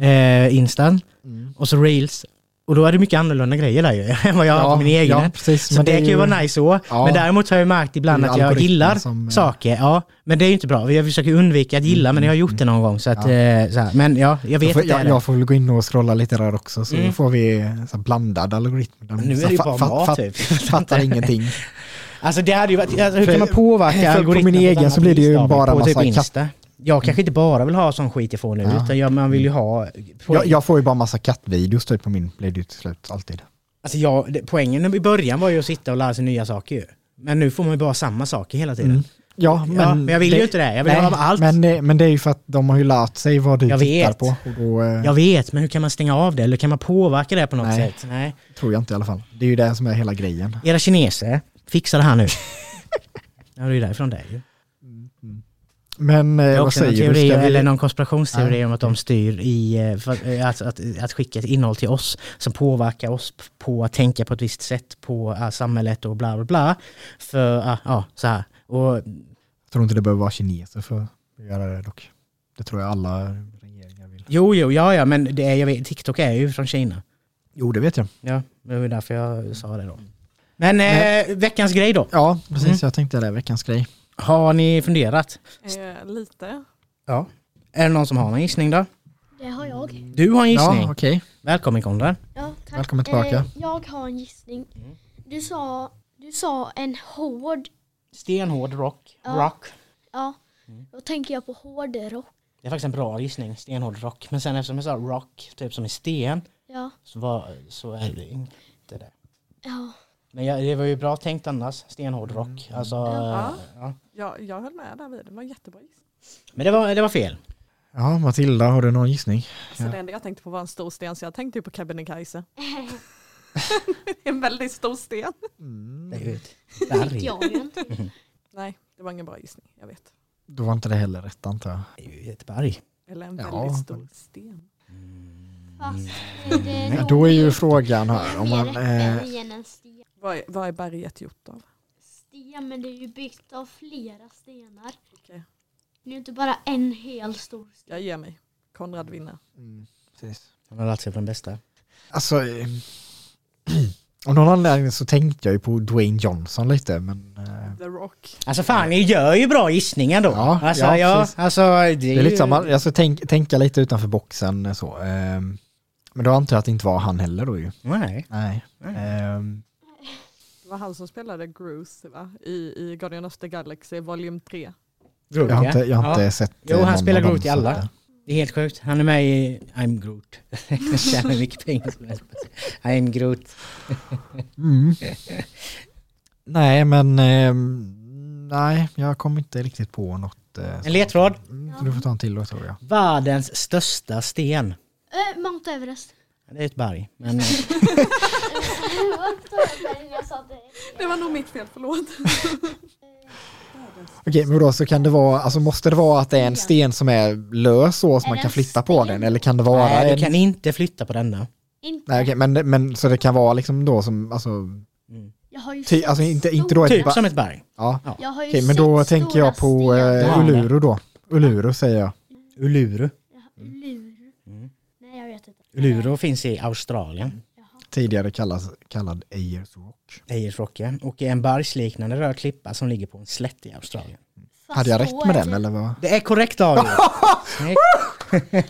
eh, instan,
Mm.
och så reels. Och då är det mycket annorlunda grejer där ju, (laughs) än vad jag har på min egen.
Ja, precis.
så det, kan ju vara nice så.
Ja.
Men däremot har jag märkt ibland
Det är
att jag
algoritmen
gillar
som, eh, Mm,
saker. Ja, men det är ju inte bra. Jag försöker undvika att gilla, men jag har gjort det någon gång. Så att,
Ja.
eh, så här. Men ja, jag vet
Jag får,
att det är
jag,
det.
jag får väl gå in och scrolla lite där också så
Mm.
får vi eh, så här blandad algoritm. Den
Nu är det ju bara mat, typ.
fattar ingenting.
Alltså det hade ju varit, alltså, (laughs) hur
För-
kan man påverka
för på
algoritmen
min
ett
egen
annat
så blir det ju
vis av
bara
på typ
massa katt-
Insta? Jag kanske inte bara vill ha sån skit jag får nu,
Ja.
utan jag, man vill ju ha...
Jag, jag får ju bara massa kattvideos typ på min blir det ju till slut alltid.
Alltså jag, det- poängen i början var ju att sitta och lära sig nya saker ju. Men nu får man ju bara samma saker hela
Mm.
tiden.
Ja,
Men, ja, men jag vill ju inte det. Jag vill ha allt.
Men, eh, men det är ju för att de har ju lärt sig vad du
Jag
tittar
vet.
på. Och då eh,
Jag vet, men hur kan man stänga av det? Eller kan man påverka det på något
Nej.
sätt? Nej.
tror jag inte i alla fall. Det är ju det som är hela grejen.
Era kineser, fixa det här
(laughs)
nu. ja, det är ju därifrån det är ju.
Men
Det
eh,
är
vad
också någon
säger du?
teori,
Ska vi,
eller någon konspirationsteori
Nej.
om att de styr i, eh, för, eh, att, att, att skicka ett innehåll till oss som påverkar oss p- på att tänka på ett visst sätt på eh, samhället och bla bla bla. För, ja, ja, så här. Och
Jag tror inte det behöver vara kineser för att göra det dock. Det tror jag alla regeringar vill.
Jo, jo, ja, ja, men det är, jag vet, TikTok är ju från Kina.
Jo, det vet jag.
Ja, det var därför jag sa det då. Men eh, veckans grej då.
Ja, precis.
Mm.
Jag tänkte det, är veckans grej.
Har ni funderat?
Eh, lite.
Ja. Är det någon som har någon gissning då?
Det har jag.
Du har en gissning.
Ja, okej.
Välkommen Konrad.
Ja, tack.
Välkommen tillbaka.
Eh, jag har en gissning. Du sa, du sa en hård,
Stenhård rock.
Ja.
rock.
ja, då tänker jag på hårdrock.
Det är faktiskt en bra gissning. Stenhård rock. Men sen eftersom jag sa rock, typ som i sten,
Ja,
så, var, så är det inte det.
ja,
Men jag, det var ju bra tänkt annars. Stenhård rock.
Mm.
Alltså,
Ja.
ja.
Jag, jag höll med där vid, det var en jättebra gissning.
Men det var, det var fel.
Ja, Matilda, har du någon gissning?
Alltså,
Ja.
Det enda jag tänkte på var en stor sten, så jag tänkte ju på Kebnekaise. (laughs) en väldigt stor sten.
Mm.
Det är ju ett
vet
berg.
jag ju inte.
Nej, det var ingen bra gissning, jag vet.
Då var inte det heller rätt antar jag.
Det är ju ett berg.
Eller en
Ja.
väldigt stor sten.
Fast är det
Men då är ju frågan här om man... Eh,
mer än en sten.
Vad är, vad är berget gjort av?
sten, men det är ju byggt av flera stenar.
Okej.
Det är ju inte bara en hel stor sten.
Jag ger mig. Konrad vinner.
mm, precis.
Han har lärt sig på den bästa.
Alltså, eh, (clears throat) av någon anledning så tänkte jag ju på Dwayne Johnson lite, men eh,
The Rock.
Alltså fan, ni gör ju bra gissningar då.
Ja,
alltså,
ja,
ja,
precis.
alltså, det är,
det är
ju-
lite samma, alltså tänk, tänka lite utanför boxen eh, så. Eh, men då antar jag att det inte var han heller då ju.
Nej.
Nej. Eh,
Det var han som spelade Groose va? I, i Guardian of the Galaxy Volume 3.
Groot,
jag har inte, jag har
ja.
inte sett eh,
Jo, han
någon av
spelar
dem,
Groot i
så
alla.
att, eh,
Det är helt sjukt. Han är med i I'm Groot. (laughs) Han tjänar hur mycket pengar som helst. I'm Groot.
Mm. (laughs) Nej, men eh, nej, jag kom inte riktigt på något. Eh,
En ledtråd.
mm, så du får ta en till då tror jag.
Världens största sten.
Äh, Mount Everest. (laughs)
Det är ett berg. Men,
Det var nog mitt fel, förlåt.
Okej, men då så kan det vara, alltså måste det vara att det är en sten som är lös så, så
Är
man
det
kan
en
flytta på
sten?
den? Eller kan det vara
nej,
en...
du kan inte flytta på denna.
Inte,
Nej, okej, men, men så det kan vara liksom då som, alltså,
jag har ju
ty,
sett
alltså inte, inte då ett...
Typ
ba-
som ett berg.
Ja,
Jag har ju
okej, men
sett
då tänker jag
stora
på
stenar.
eh,
Ja.
Uluru då. Uluru säger jag.
Uluru.
Jaha, Lur.
Mm.
Nej, jag vet inte.
Uluru finns i Australien.
Tidigare kallas, kallad Ayers Rock.
Ayers Rock, ja. Och är en bergsliknande röd klippa som ligger på en slätt i Australien.
Fast
Hade jag
då
rätt med
är
den
det-
eller vad?
Det är korrekt
(laughs)
David! Snyggt.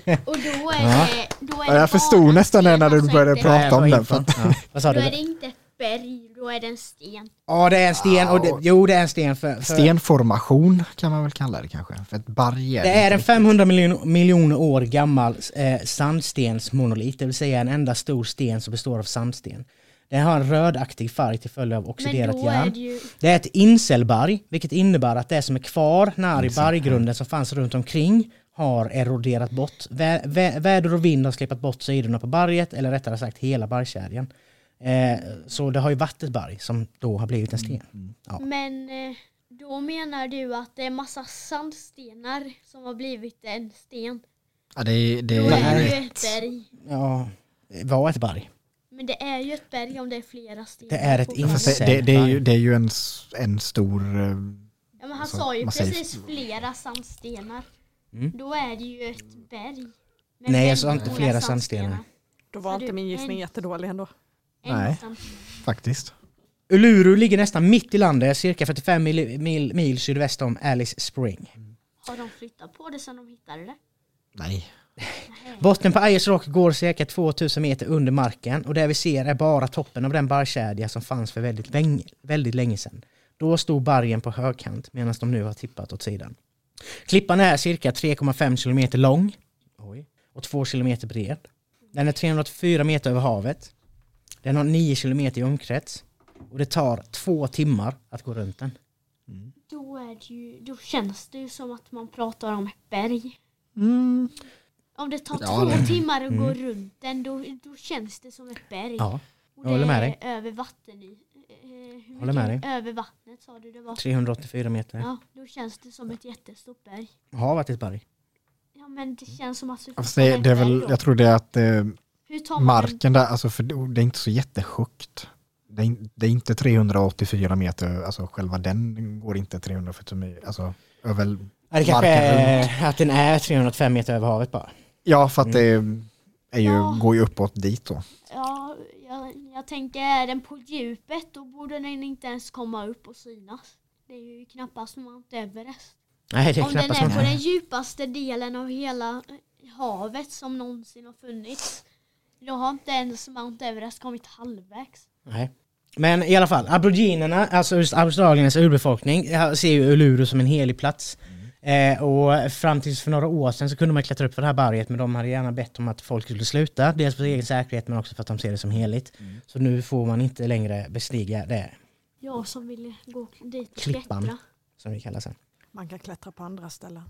Och då är
Ja.
det, då är
Ja,
det
jag förstod
bara
nästan det
sten,
när du
alltså
började
inte-
Ja, jag
prata
var
om den.
info.
För att,
Ja. Vad sa
Då är
du?
det inte ett berg, då är det en sten.
Ja, det är en sten. Och det, jo, det är en sten. För, för,
stenformation kan man väl kalla det kanske. För ett berg är
Det är
inte
en
riktigt.
500 miljon, miljoner år gammal eh, sandstensmonolit, det vill säga en enda stor sten som består av sandsten. Den har en rödaktig färg till följd av
Men
oxiderat
då är det
järn.
ju...
Det är ett inselberg, vilket innebär att det som är kvar när i berggrunden som fanns runt omkring har eroderat bort. Vä vä väder och vind har släpat bort sidorna på berget, eller rättare sagt hela bergskedjan. Eh, så det har ju varit ett berg som då har blivit en sten. Ja.
Men eh, då menar du att det är massa sandstenar som har blivit en sten.
Ja, det, det,
Då är det
är
ju ett berg.
Ja, det Eh, var ett berg.
Men det är ju ett berg om det är flera stenar.
Det är ett
på
in-
varandra.
Fast det, det, det, är ju, det är ju en, s- en stor... eh,
Ja, men han
alltså,
sa ju
man säger-
precis flera sandstenar.
Mm.
Då är det ju ett berg. med
Nej, jag
väldigt
sa inte
många
flera sandstenar.
Då var
Så
inte
du-
min gissning
en-
jättedålig ändå.
En
Nej.
sandsten.
Faktiskt.
Uluru ligger nästan mitt i landet, cirka 45 mil, mil, mil sydväst om Alice Spring.
Har de flyttat på det sen de hittade det?
Nej.
Botten på Ayers Rock går cirka 2000 meter under marken och det vi ser är bara toppen av den bergskedja som fanns för väldigt länge, väldigt länge sedan. Då stod bergen på högkant medan de nu har tippat åt sidan. Klippan är cirka 3,5 kilometer lång och 2 kilometer bred. Den är 384 meter över havet. Den har 9 kilometer i omkrets och det tar två timmar att gå runt den.
Då, är det ju, då känns det ju som att man pratar om ett berg. Om det tar två timmar att gå runt den, då, då känns det som ett berg.
Mm. Ja,
Och
jag håller
det
med
är
dig.
Över vatten i. eh, hur
Håller med
mycket Över vattnet sa du det var.
384 meter.
Ja, då känns det som ett jättestort berg.
Har varit ett berg.
Ja men det känns som att...
Alltså det, det är väl, jag tror det är att eh,
Hur tar man en
marken där, alltså för det det är inte så jättesjukt. Det är, in- det är inte 384 meter, alltså själva den går inte 340 meter, alltså över...
Ja, det kanske
Marken
är att den är 305 meter över havet bara.
Ja, för att det är ju,
Ja.
går ju uppåt dit då.
Ja, jag, jag tänker är den på djupet då borde den inte ens komma upp och synas. Det är ju knappast Mount Everest.
Nej, det är
Om den
knappast
är på
någon.
den djupaste delen av hela, havet som någonsin har funnits. Då har inte ens Mount Everest kommit halvvägs.
Nej. Men i alla fall, aboriginerna, alltså just Australiens urbefolkning, eh, ser ju Uluru som en helig plats. Eh, och fram tills för några år sedan så kunde man klättra upp för det här berget men de hade gärna bett om att folk skulle sluta. Dels för sin egen säkerhet men också för att de ser det som heligt. Så nu får man inte längre bestiga det
Jag som ville gå dit och
Klippan.
klättra.
som vi kallar sen.
Man kan klättra på andra ställen.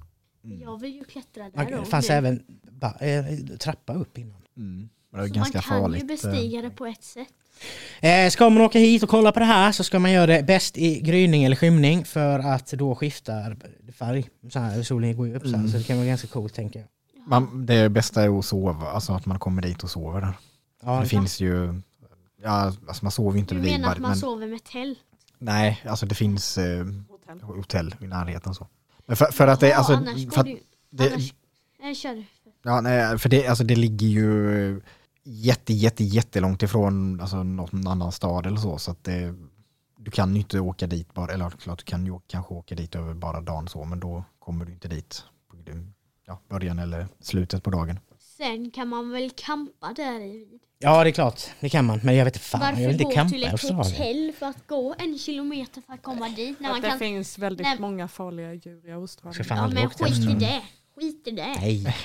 Jag vill ju klättra där
Man,
då.
det fanns även ba, eh, trappa upp innan.
Mm. Det var
Så
ganska
man kan
farligt.
ju
eh,
bestiga det på ett sätt.
Eh, ska man åka hit och kolla på det här så ska man göra det bäst i gryning eller skymning för att då skiftar färg. Så här, solen går ju upp så, här, så det kan vara ganska coolt tänker jag.
Man, det bästa är att sova, alltså att man kommer dit och sover där.
Ja,
det finns ju, ja, alltså man sover ju inte
Du
vid
menar att
berget,
man
men
sover med tält?
nej, alltså det finns eh,
Hotell.
hotell i närheten så. Men för, för att det,
Ja,
alltså,
annars går
för att
du,
det-
annars, nej, kör du.
Ja, nej, för det, alltså det ligger ju jätte, jätte, jättelångt ifrån alltså, någon annan stad eller så. Så att det, du kan ju inte åka dit bara, eller klart du kan ju å- kanske åka dit över bara dagen så, men då kommer du inte dit på ja, början eller slutet på dagen.
Sen kan man väl kampa där i.
ja, det är klart. Det kan man. Men jag vet inte fan, jag
Varför
vill inte
gå
campa
till
i
ett
Australien.
hotell för att gå en kilometer för att komma dit? När
Att
man
det
kan,
finns väldigt
Nej.
många farliga djur i Australien.
Ska fan
ja,
aldrig
men
åka till
skit i
Australien.
det. Skit i det.
Nej,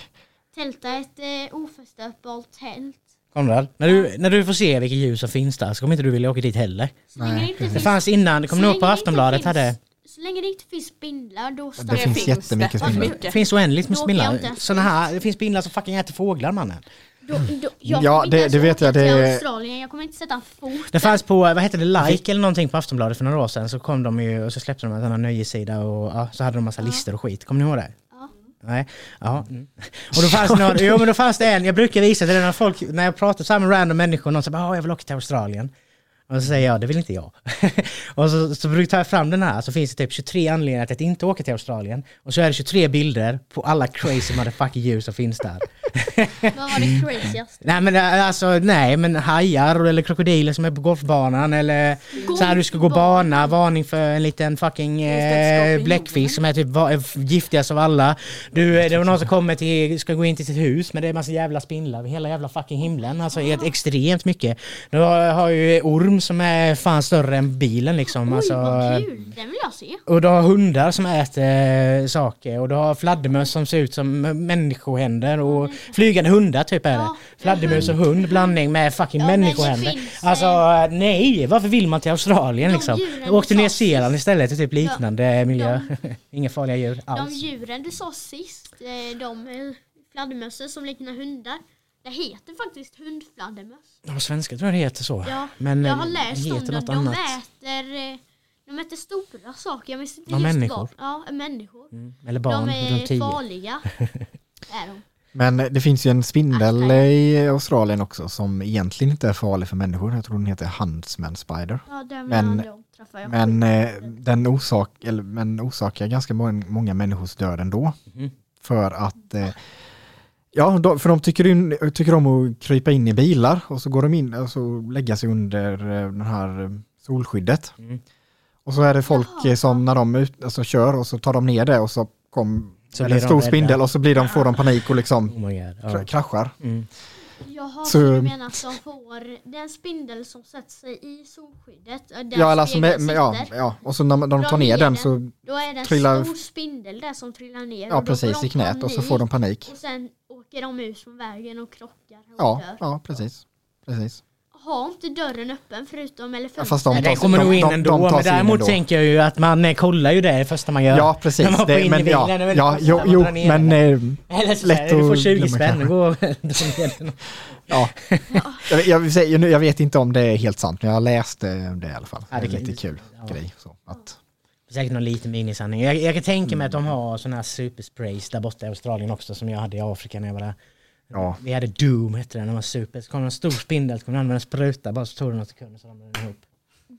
Tälta ett eh, oförstörbart tält.
Konrad. När du, när du får se vilka ljus som finns där så kommer inte du vilja åka dit heller.
Så länge det inte
Det
finns,
fanns innan, kommer
så
ni ihåg på
länge det inte
Aftonbladet
finns-
hade
Så länge det inte finns spindlar då
Det, finns,
finns
jättemycket
det.
spindlar.
Mycket.
det finns oändligt med
Då åker jag inte
spindlar.
ens
Såna här, det finns spindlar som fucking äter fåglar mannen.
Då, då,
Ja,
jag kommer inte
det-
ens
det vet
åka
jag,
till
det-
Australien, jag kommer inte sätta en fot.
Det fanns på, vad hette det, Like eller någonting på Aftonbladet för några år sedan så kom de ju och så släppte de en sån här nöjessida och ja, så hade de massa listor och skit. Kommer ni ihåg det?
Ja.
Nej, ja. Mm. Och då fanns, någon, jo, men då fanns det en, jag brukar visa till det när folk, när jag pratar så här med random människor, någon säger bara, "Ah, jag vill åka till Australien. Och så säger jag, det vill inte jag. (laughs) och så, så brukar jag ta fram den här, så finns det typ 23 anledningar till att inte åka till Australien. Och så är det 23 bilder på alla crazy motherfucking djur som finns där.
Vad
(laughs)
var det craziest?
Nej men eh, alltså nej men hajar eller krokodiler som är på golfbanan eller så här du ska gå bana, varning för en liten fucking eh, bläckfisk som är typ va- eh, giftigast av alla. Du, eh, det var någon som kommer till, ska gå in till sitt hus men det är massa jävla spindlar över hela jävla fucking himlen. Alltså
Ah.
helt extremt mycket. Du har, har ju orm som är fan större än bilen liksom. (laughs)
Oj
Alltså,
vad kul, den vill jag se.
och du har hundar som äter eh, saker och du har fladdermöss som ser ut som människohänder och flygande hundar typ är det.
Mm. Ja.
Fladdermus och hund blandning med fucking
Ja, men det
människohänder.
finns, eh,
Alltså nej, varför vill man till Australien
De
liksom?
djuren
Åk till
du
Nya
sa
Zeeland istället till typ liknande miljö.
de-
(laughs) Inga farliga djur
De
alls.
djuren du sa sist, eh, de eh, fladdermössen som liknar hundar, det heter faktiskt hundfladdermöss.
De svenska tror jag det heter så.
Ja,
Men
jag
eh,
har läst
det
om
heter
dem.
något
De
annat.
äter, eh, de äter stora saker, jag minns inte
Ja,
just
människor.
vad. Ja, människor.
Mm. Eller barn
de
runt
är
tio. (laughs)
farliga. är de.
Men det finns ju en spindel
Aschberg.
i Australien också som egentligen inte är farlig för människor. Jag tror den heter huntsman spider.
Ja, den
Men-
men, de träffar jag.
Men eh, den orsak, eller, men orsakar ganska många, många människors död ändå.
Mhm.
För att eh, Ja, de, för de tycker, in, tycker om att krypa in i bilar och så går de in och så lägger sig under eh, den här eh, solskyddet.
Mm.
Och så är det folk
Jaha.
eh, som när de ut, alltså, kör och så tar de ner det och så kom
Så
är det
blir
en
de
stor
rädda.
spindel och så blir de, får de panik och liksom
Oh my god.
kra-
Ja.
kraschar.
Mm.
Så-
Jaha, så du menar att de får den spindel som sätter sig i solskyddet? eh, Där
Ja, eller alltså med,
spegeln
med, ja,
sitter,
ja, och så när man- de
Dra
tar ner
ner
den
den.
så,
Då är det en
trillar-
stor spindel där som trillar ner.
ja
och då får
precis,
de
i knät och så
panik.
får de panik.
Och sen åker de ut från vägen och krockar och
Ja,
dör.
ja precis. precis.
Ha inte dörren öppen förutom eller
Ja,
fönstret.
fast de
Nej,
tar
det
sig-
kommer nog in
de- de
ändå,
tar
men
sig in
däremot
ändå.
tänker jag ju att man eh, kollar ju det det första man gör.
Ja,
När
precis.
man hoppar in
Det,
i
men,
bilen,
ja,
det är väldigt
ja,
konstigt
jo,
att man
jo,
drar ner
men eh,
Eller så
Lätt
här, du får
att
20
glömma
spänn,
kanske.
gå och dra ner den.
ja.
(laughs)
Jag, jag, vill säga, nu- jag vet inte om det är helt sant, men jag har läst eh, det i alla fall.
Ja, det
det är
kan-
lite kul
ja.
grej. Så, att,
Säkert någon liten minisanning. Jag, jag kan tänka mig att
Mm.
de har sådana här supersprays där borta i Australien också som jag hade i Afrika när jag var där.
ja.
Vi hade Doom hette den, den var super. Så kom det en stor spindel, så kom den med en spruta bara så tog det några sekunder så ramlade den ihop.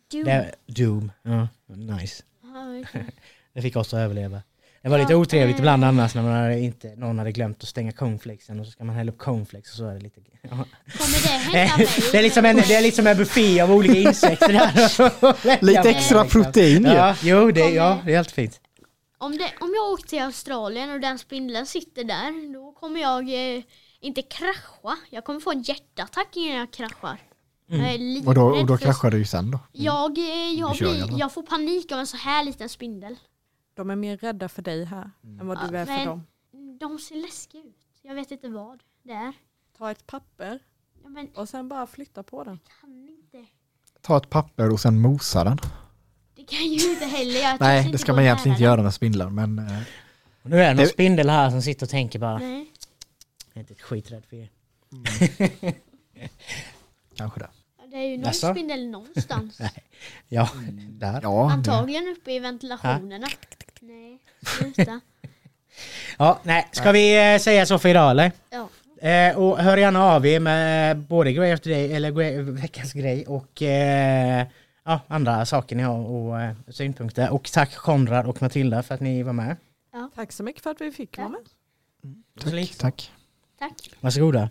Du,
Det, Doom, ja, nice.
Ja, okej.
Det fick oss att överleva. Det var
Ja,
lite otrevligt
eh.
ibland annars när man hade inte, någon hade glömt att stänga cornflakesen och så ska man hälla upp cornflakes och så är det lite... (laughs) Ja.
kommer det
(laughs)
hända mig?
Det är liksom en, det är liksom en buffé av olika insekter. där.
Lite
Jävlar,
extra
liksom.
protein ju.
Ja, jo, det, ja, det är helt fint.
Om, det, om jag åker till Australien och den spindeln sitter där, då kommer jag eh, inte krascha. Jag kommer få en hjärtattack innan jag kraschar. Jag är livrädd
Och då, Mm. och då
för-
kraschar du ju sen då.
Jag, eh, jag,
Du kör
blir,
gärna.
jag får panik av en så här liten spindel.
De är mer rädda för dig här
Mm.
än vad du
Ja,
är för
men-
dem.
De ser läskiga ut. Jag vet inte vad det är.
Ta ett papper
Ja, men jag
och sen bara flytta på den.
kan inte.
Ta ett papper och sen mosa den.
Det kan ju inte heller. Jag törs
Nej,
inte
det ska
gå
man egentligen
nära
inte göra med spindlar, men eh,
Och nu är det någon
Det-
spindel här som sitter och tänker bara,
den. Nej.
jag är inte ett skiträdd för er.
kanske det.
Ja, Det är ju någon
Jaså?
(laughs)
spindel någonstans.
Ja, där.
Ja, det-
Antagligen uppe i ventilationerna. Nej, sluta.
Ja, nej. Ska vi eh, säga så för idag eller?
Ja.
Eh, och hör gärna av er med eh, både Grey After Day, eller Grey, veckans grej och eh, ja, andra saker ni har och eh, synpunkter. Och tack Konrad och Matilda för att ni var med.
Tack så mycket för att vi fick vara med.
tack. tack.
Tack.
Varsågoda.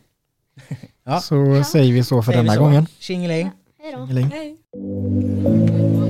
Ja.
Så säger vi så för denna gången.
Tjingeling.
Hej då.
Elin.
Hej!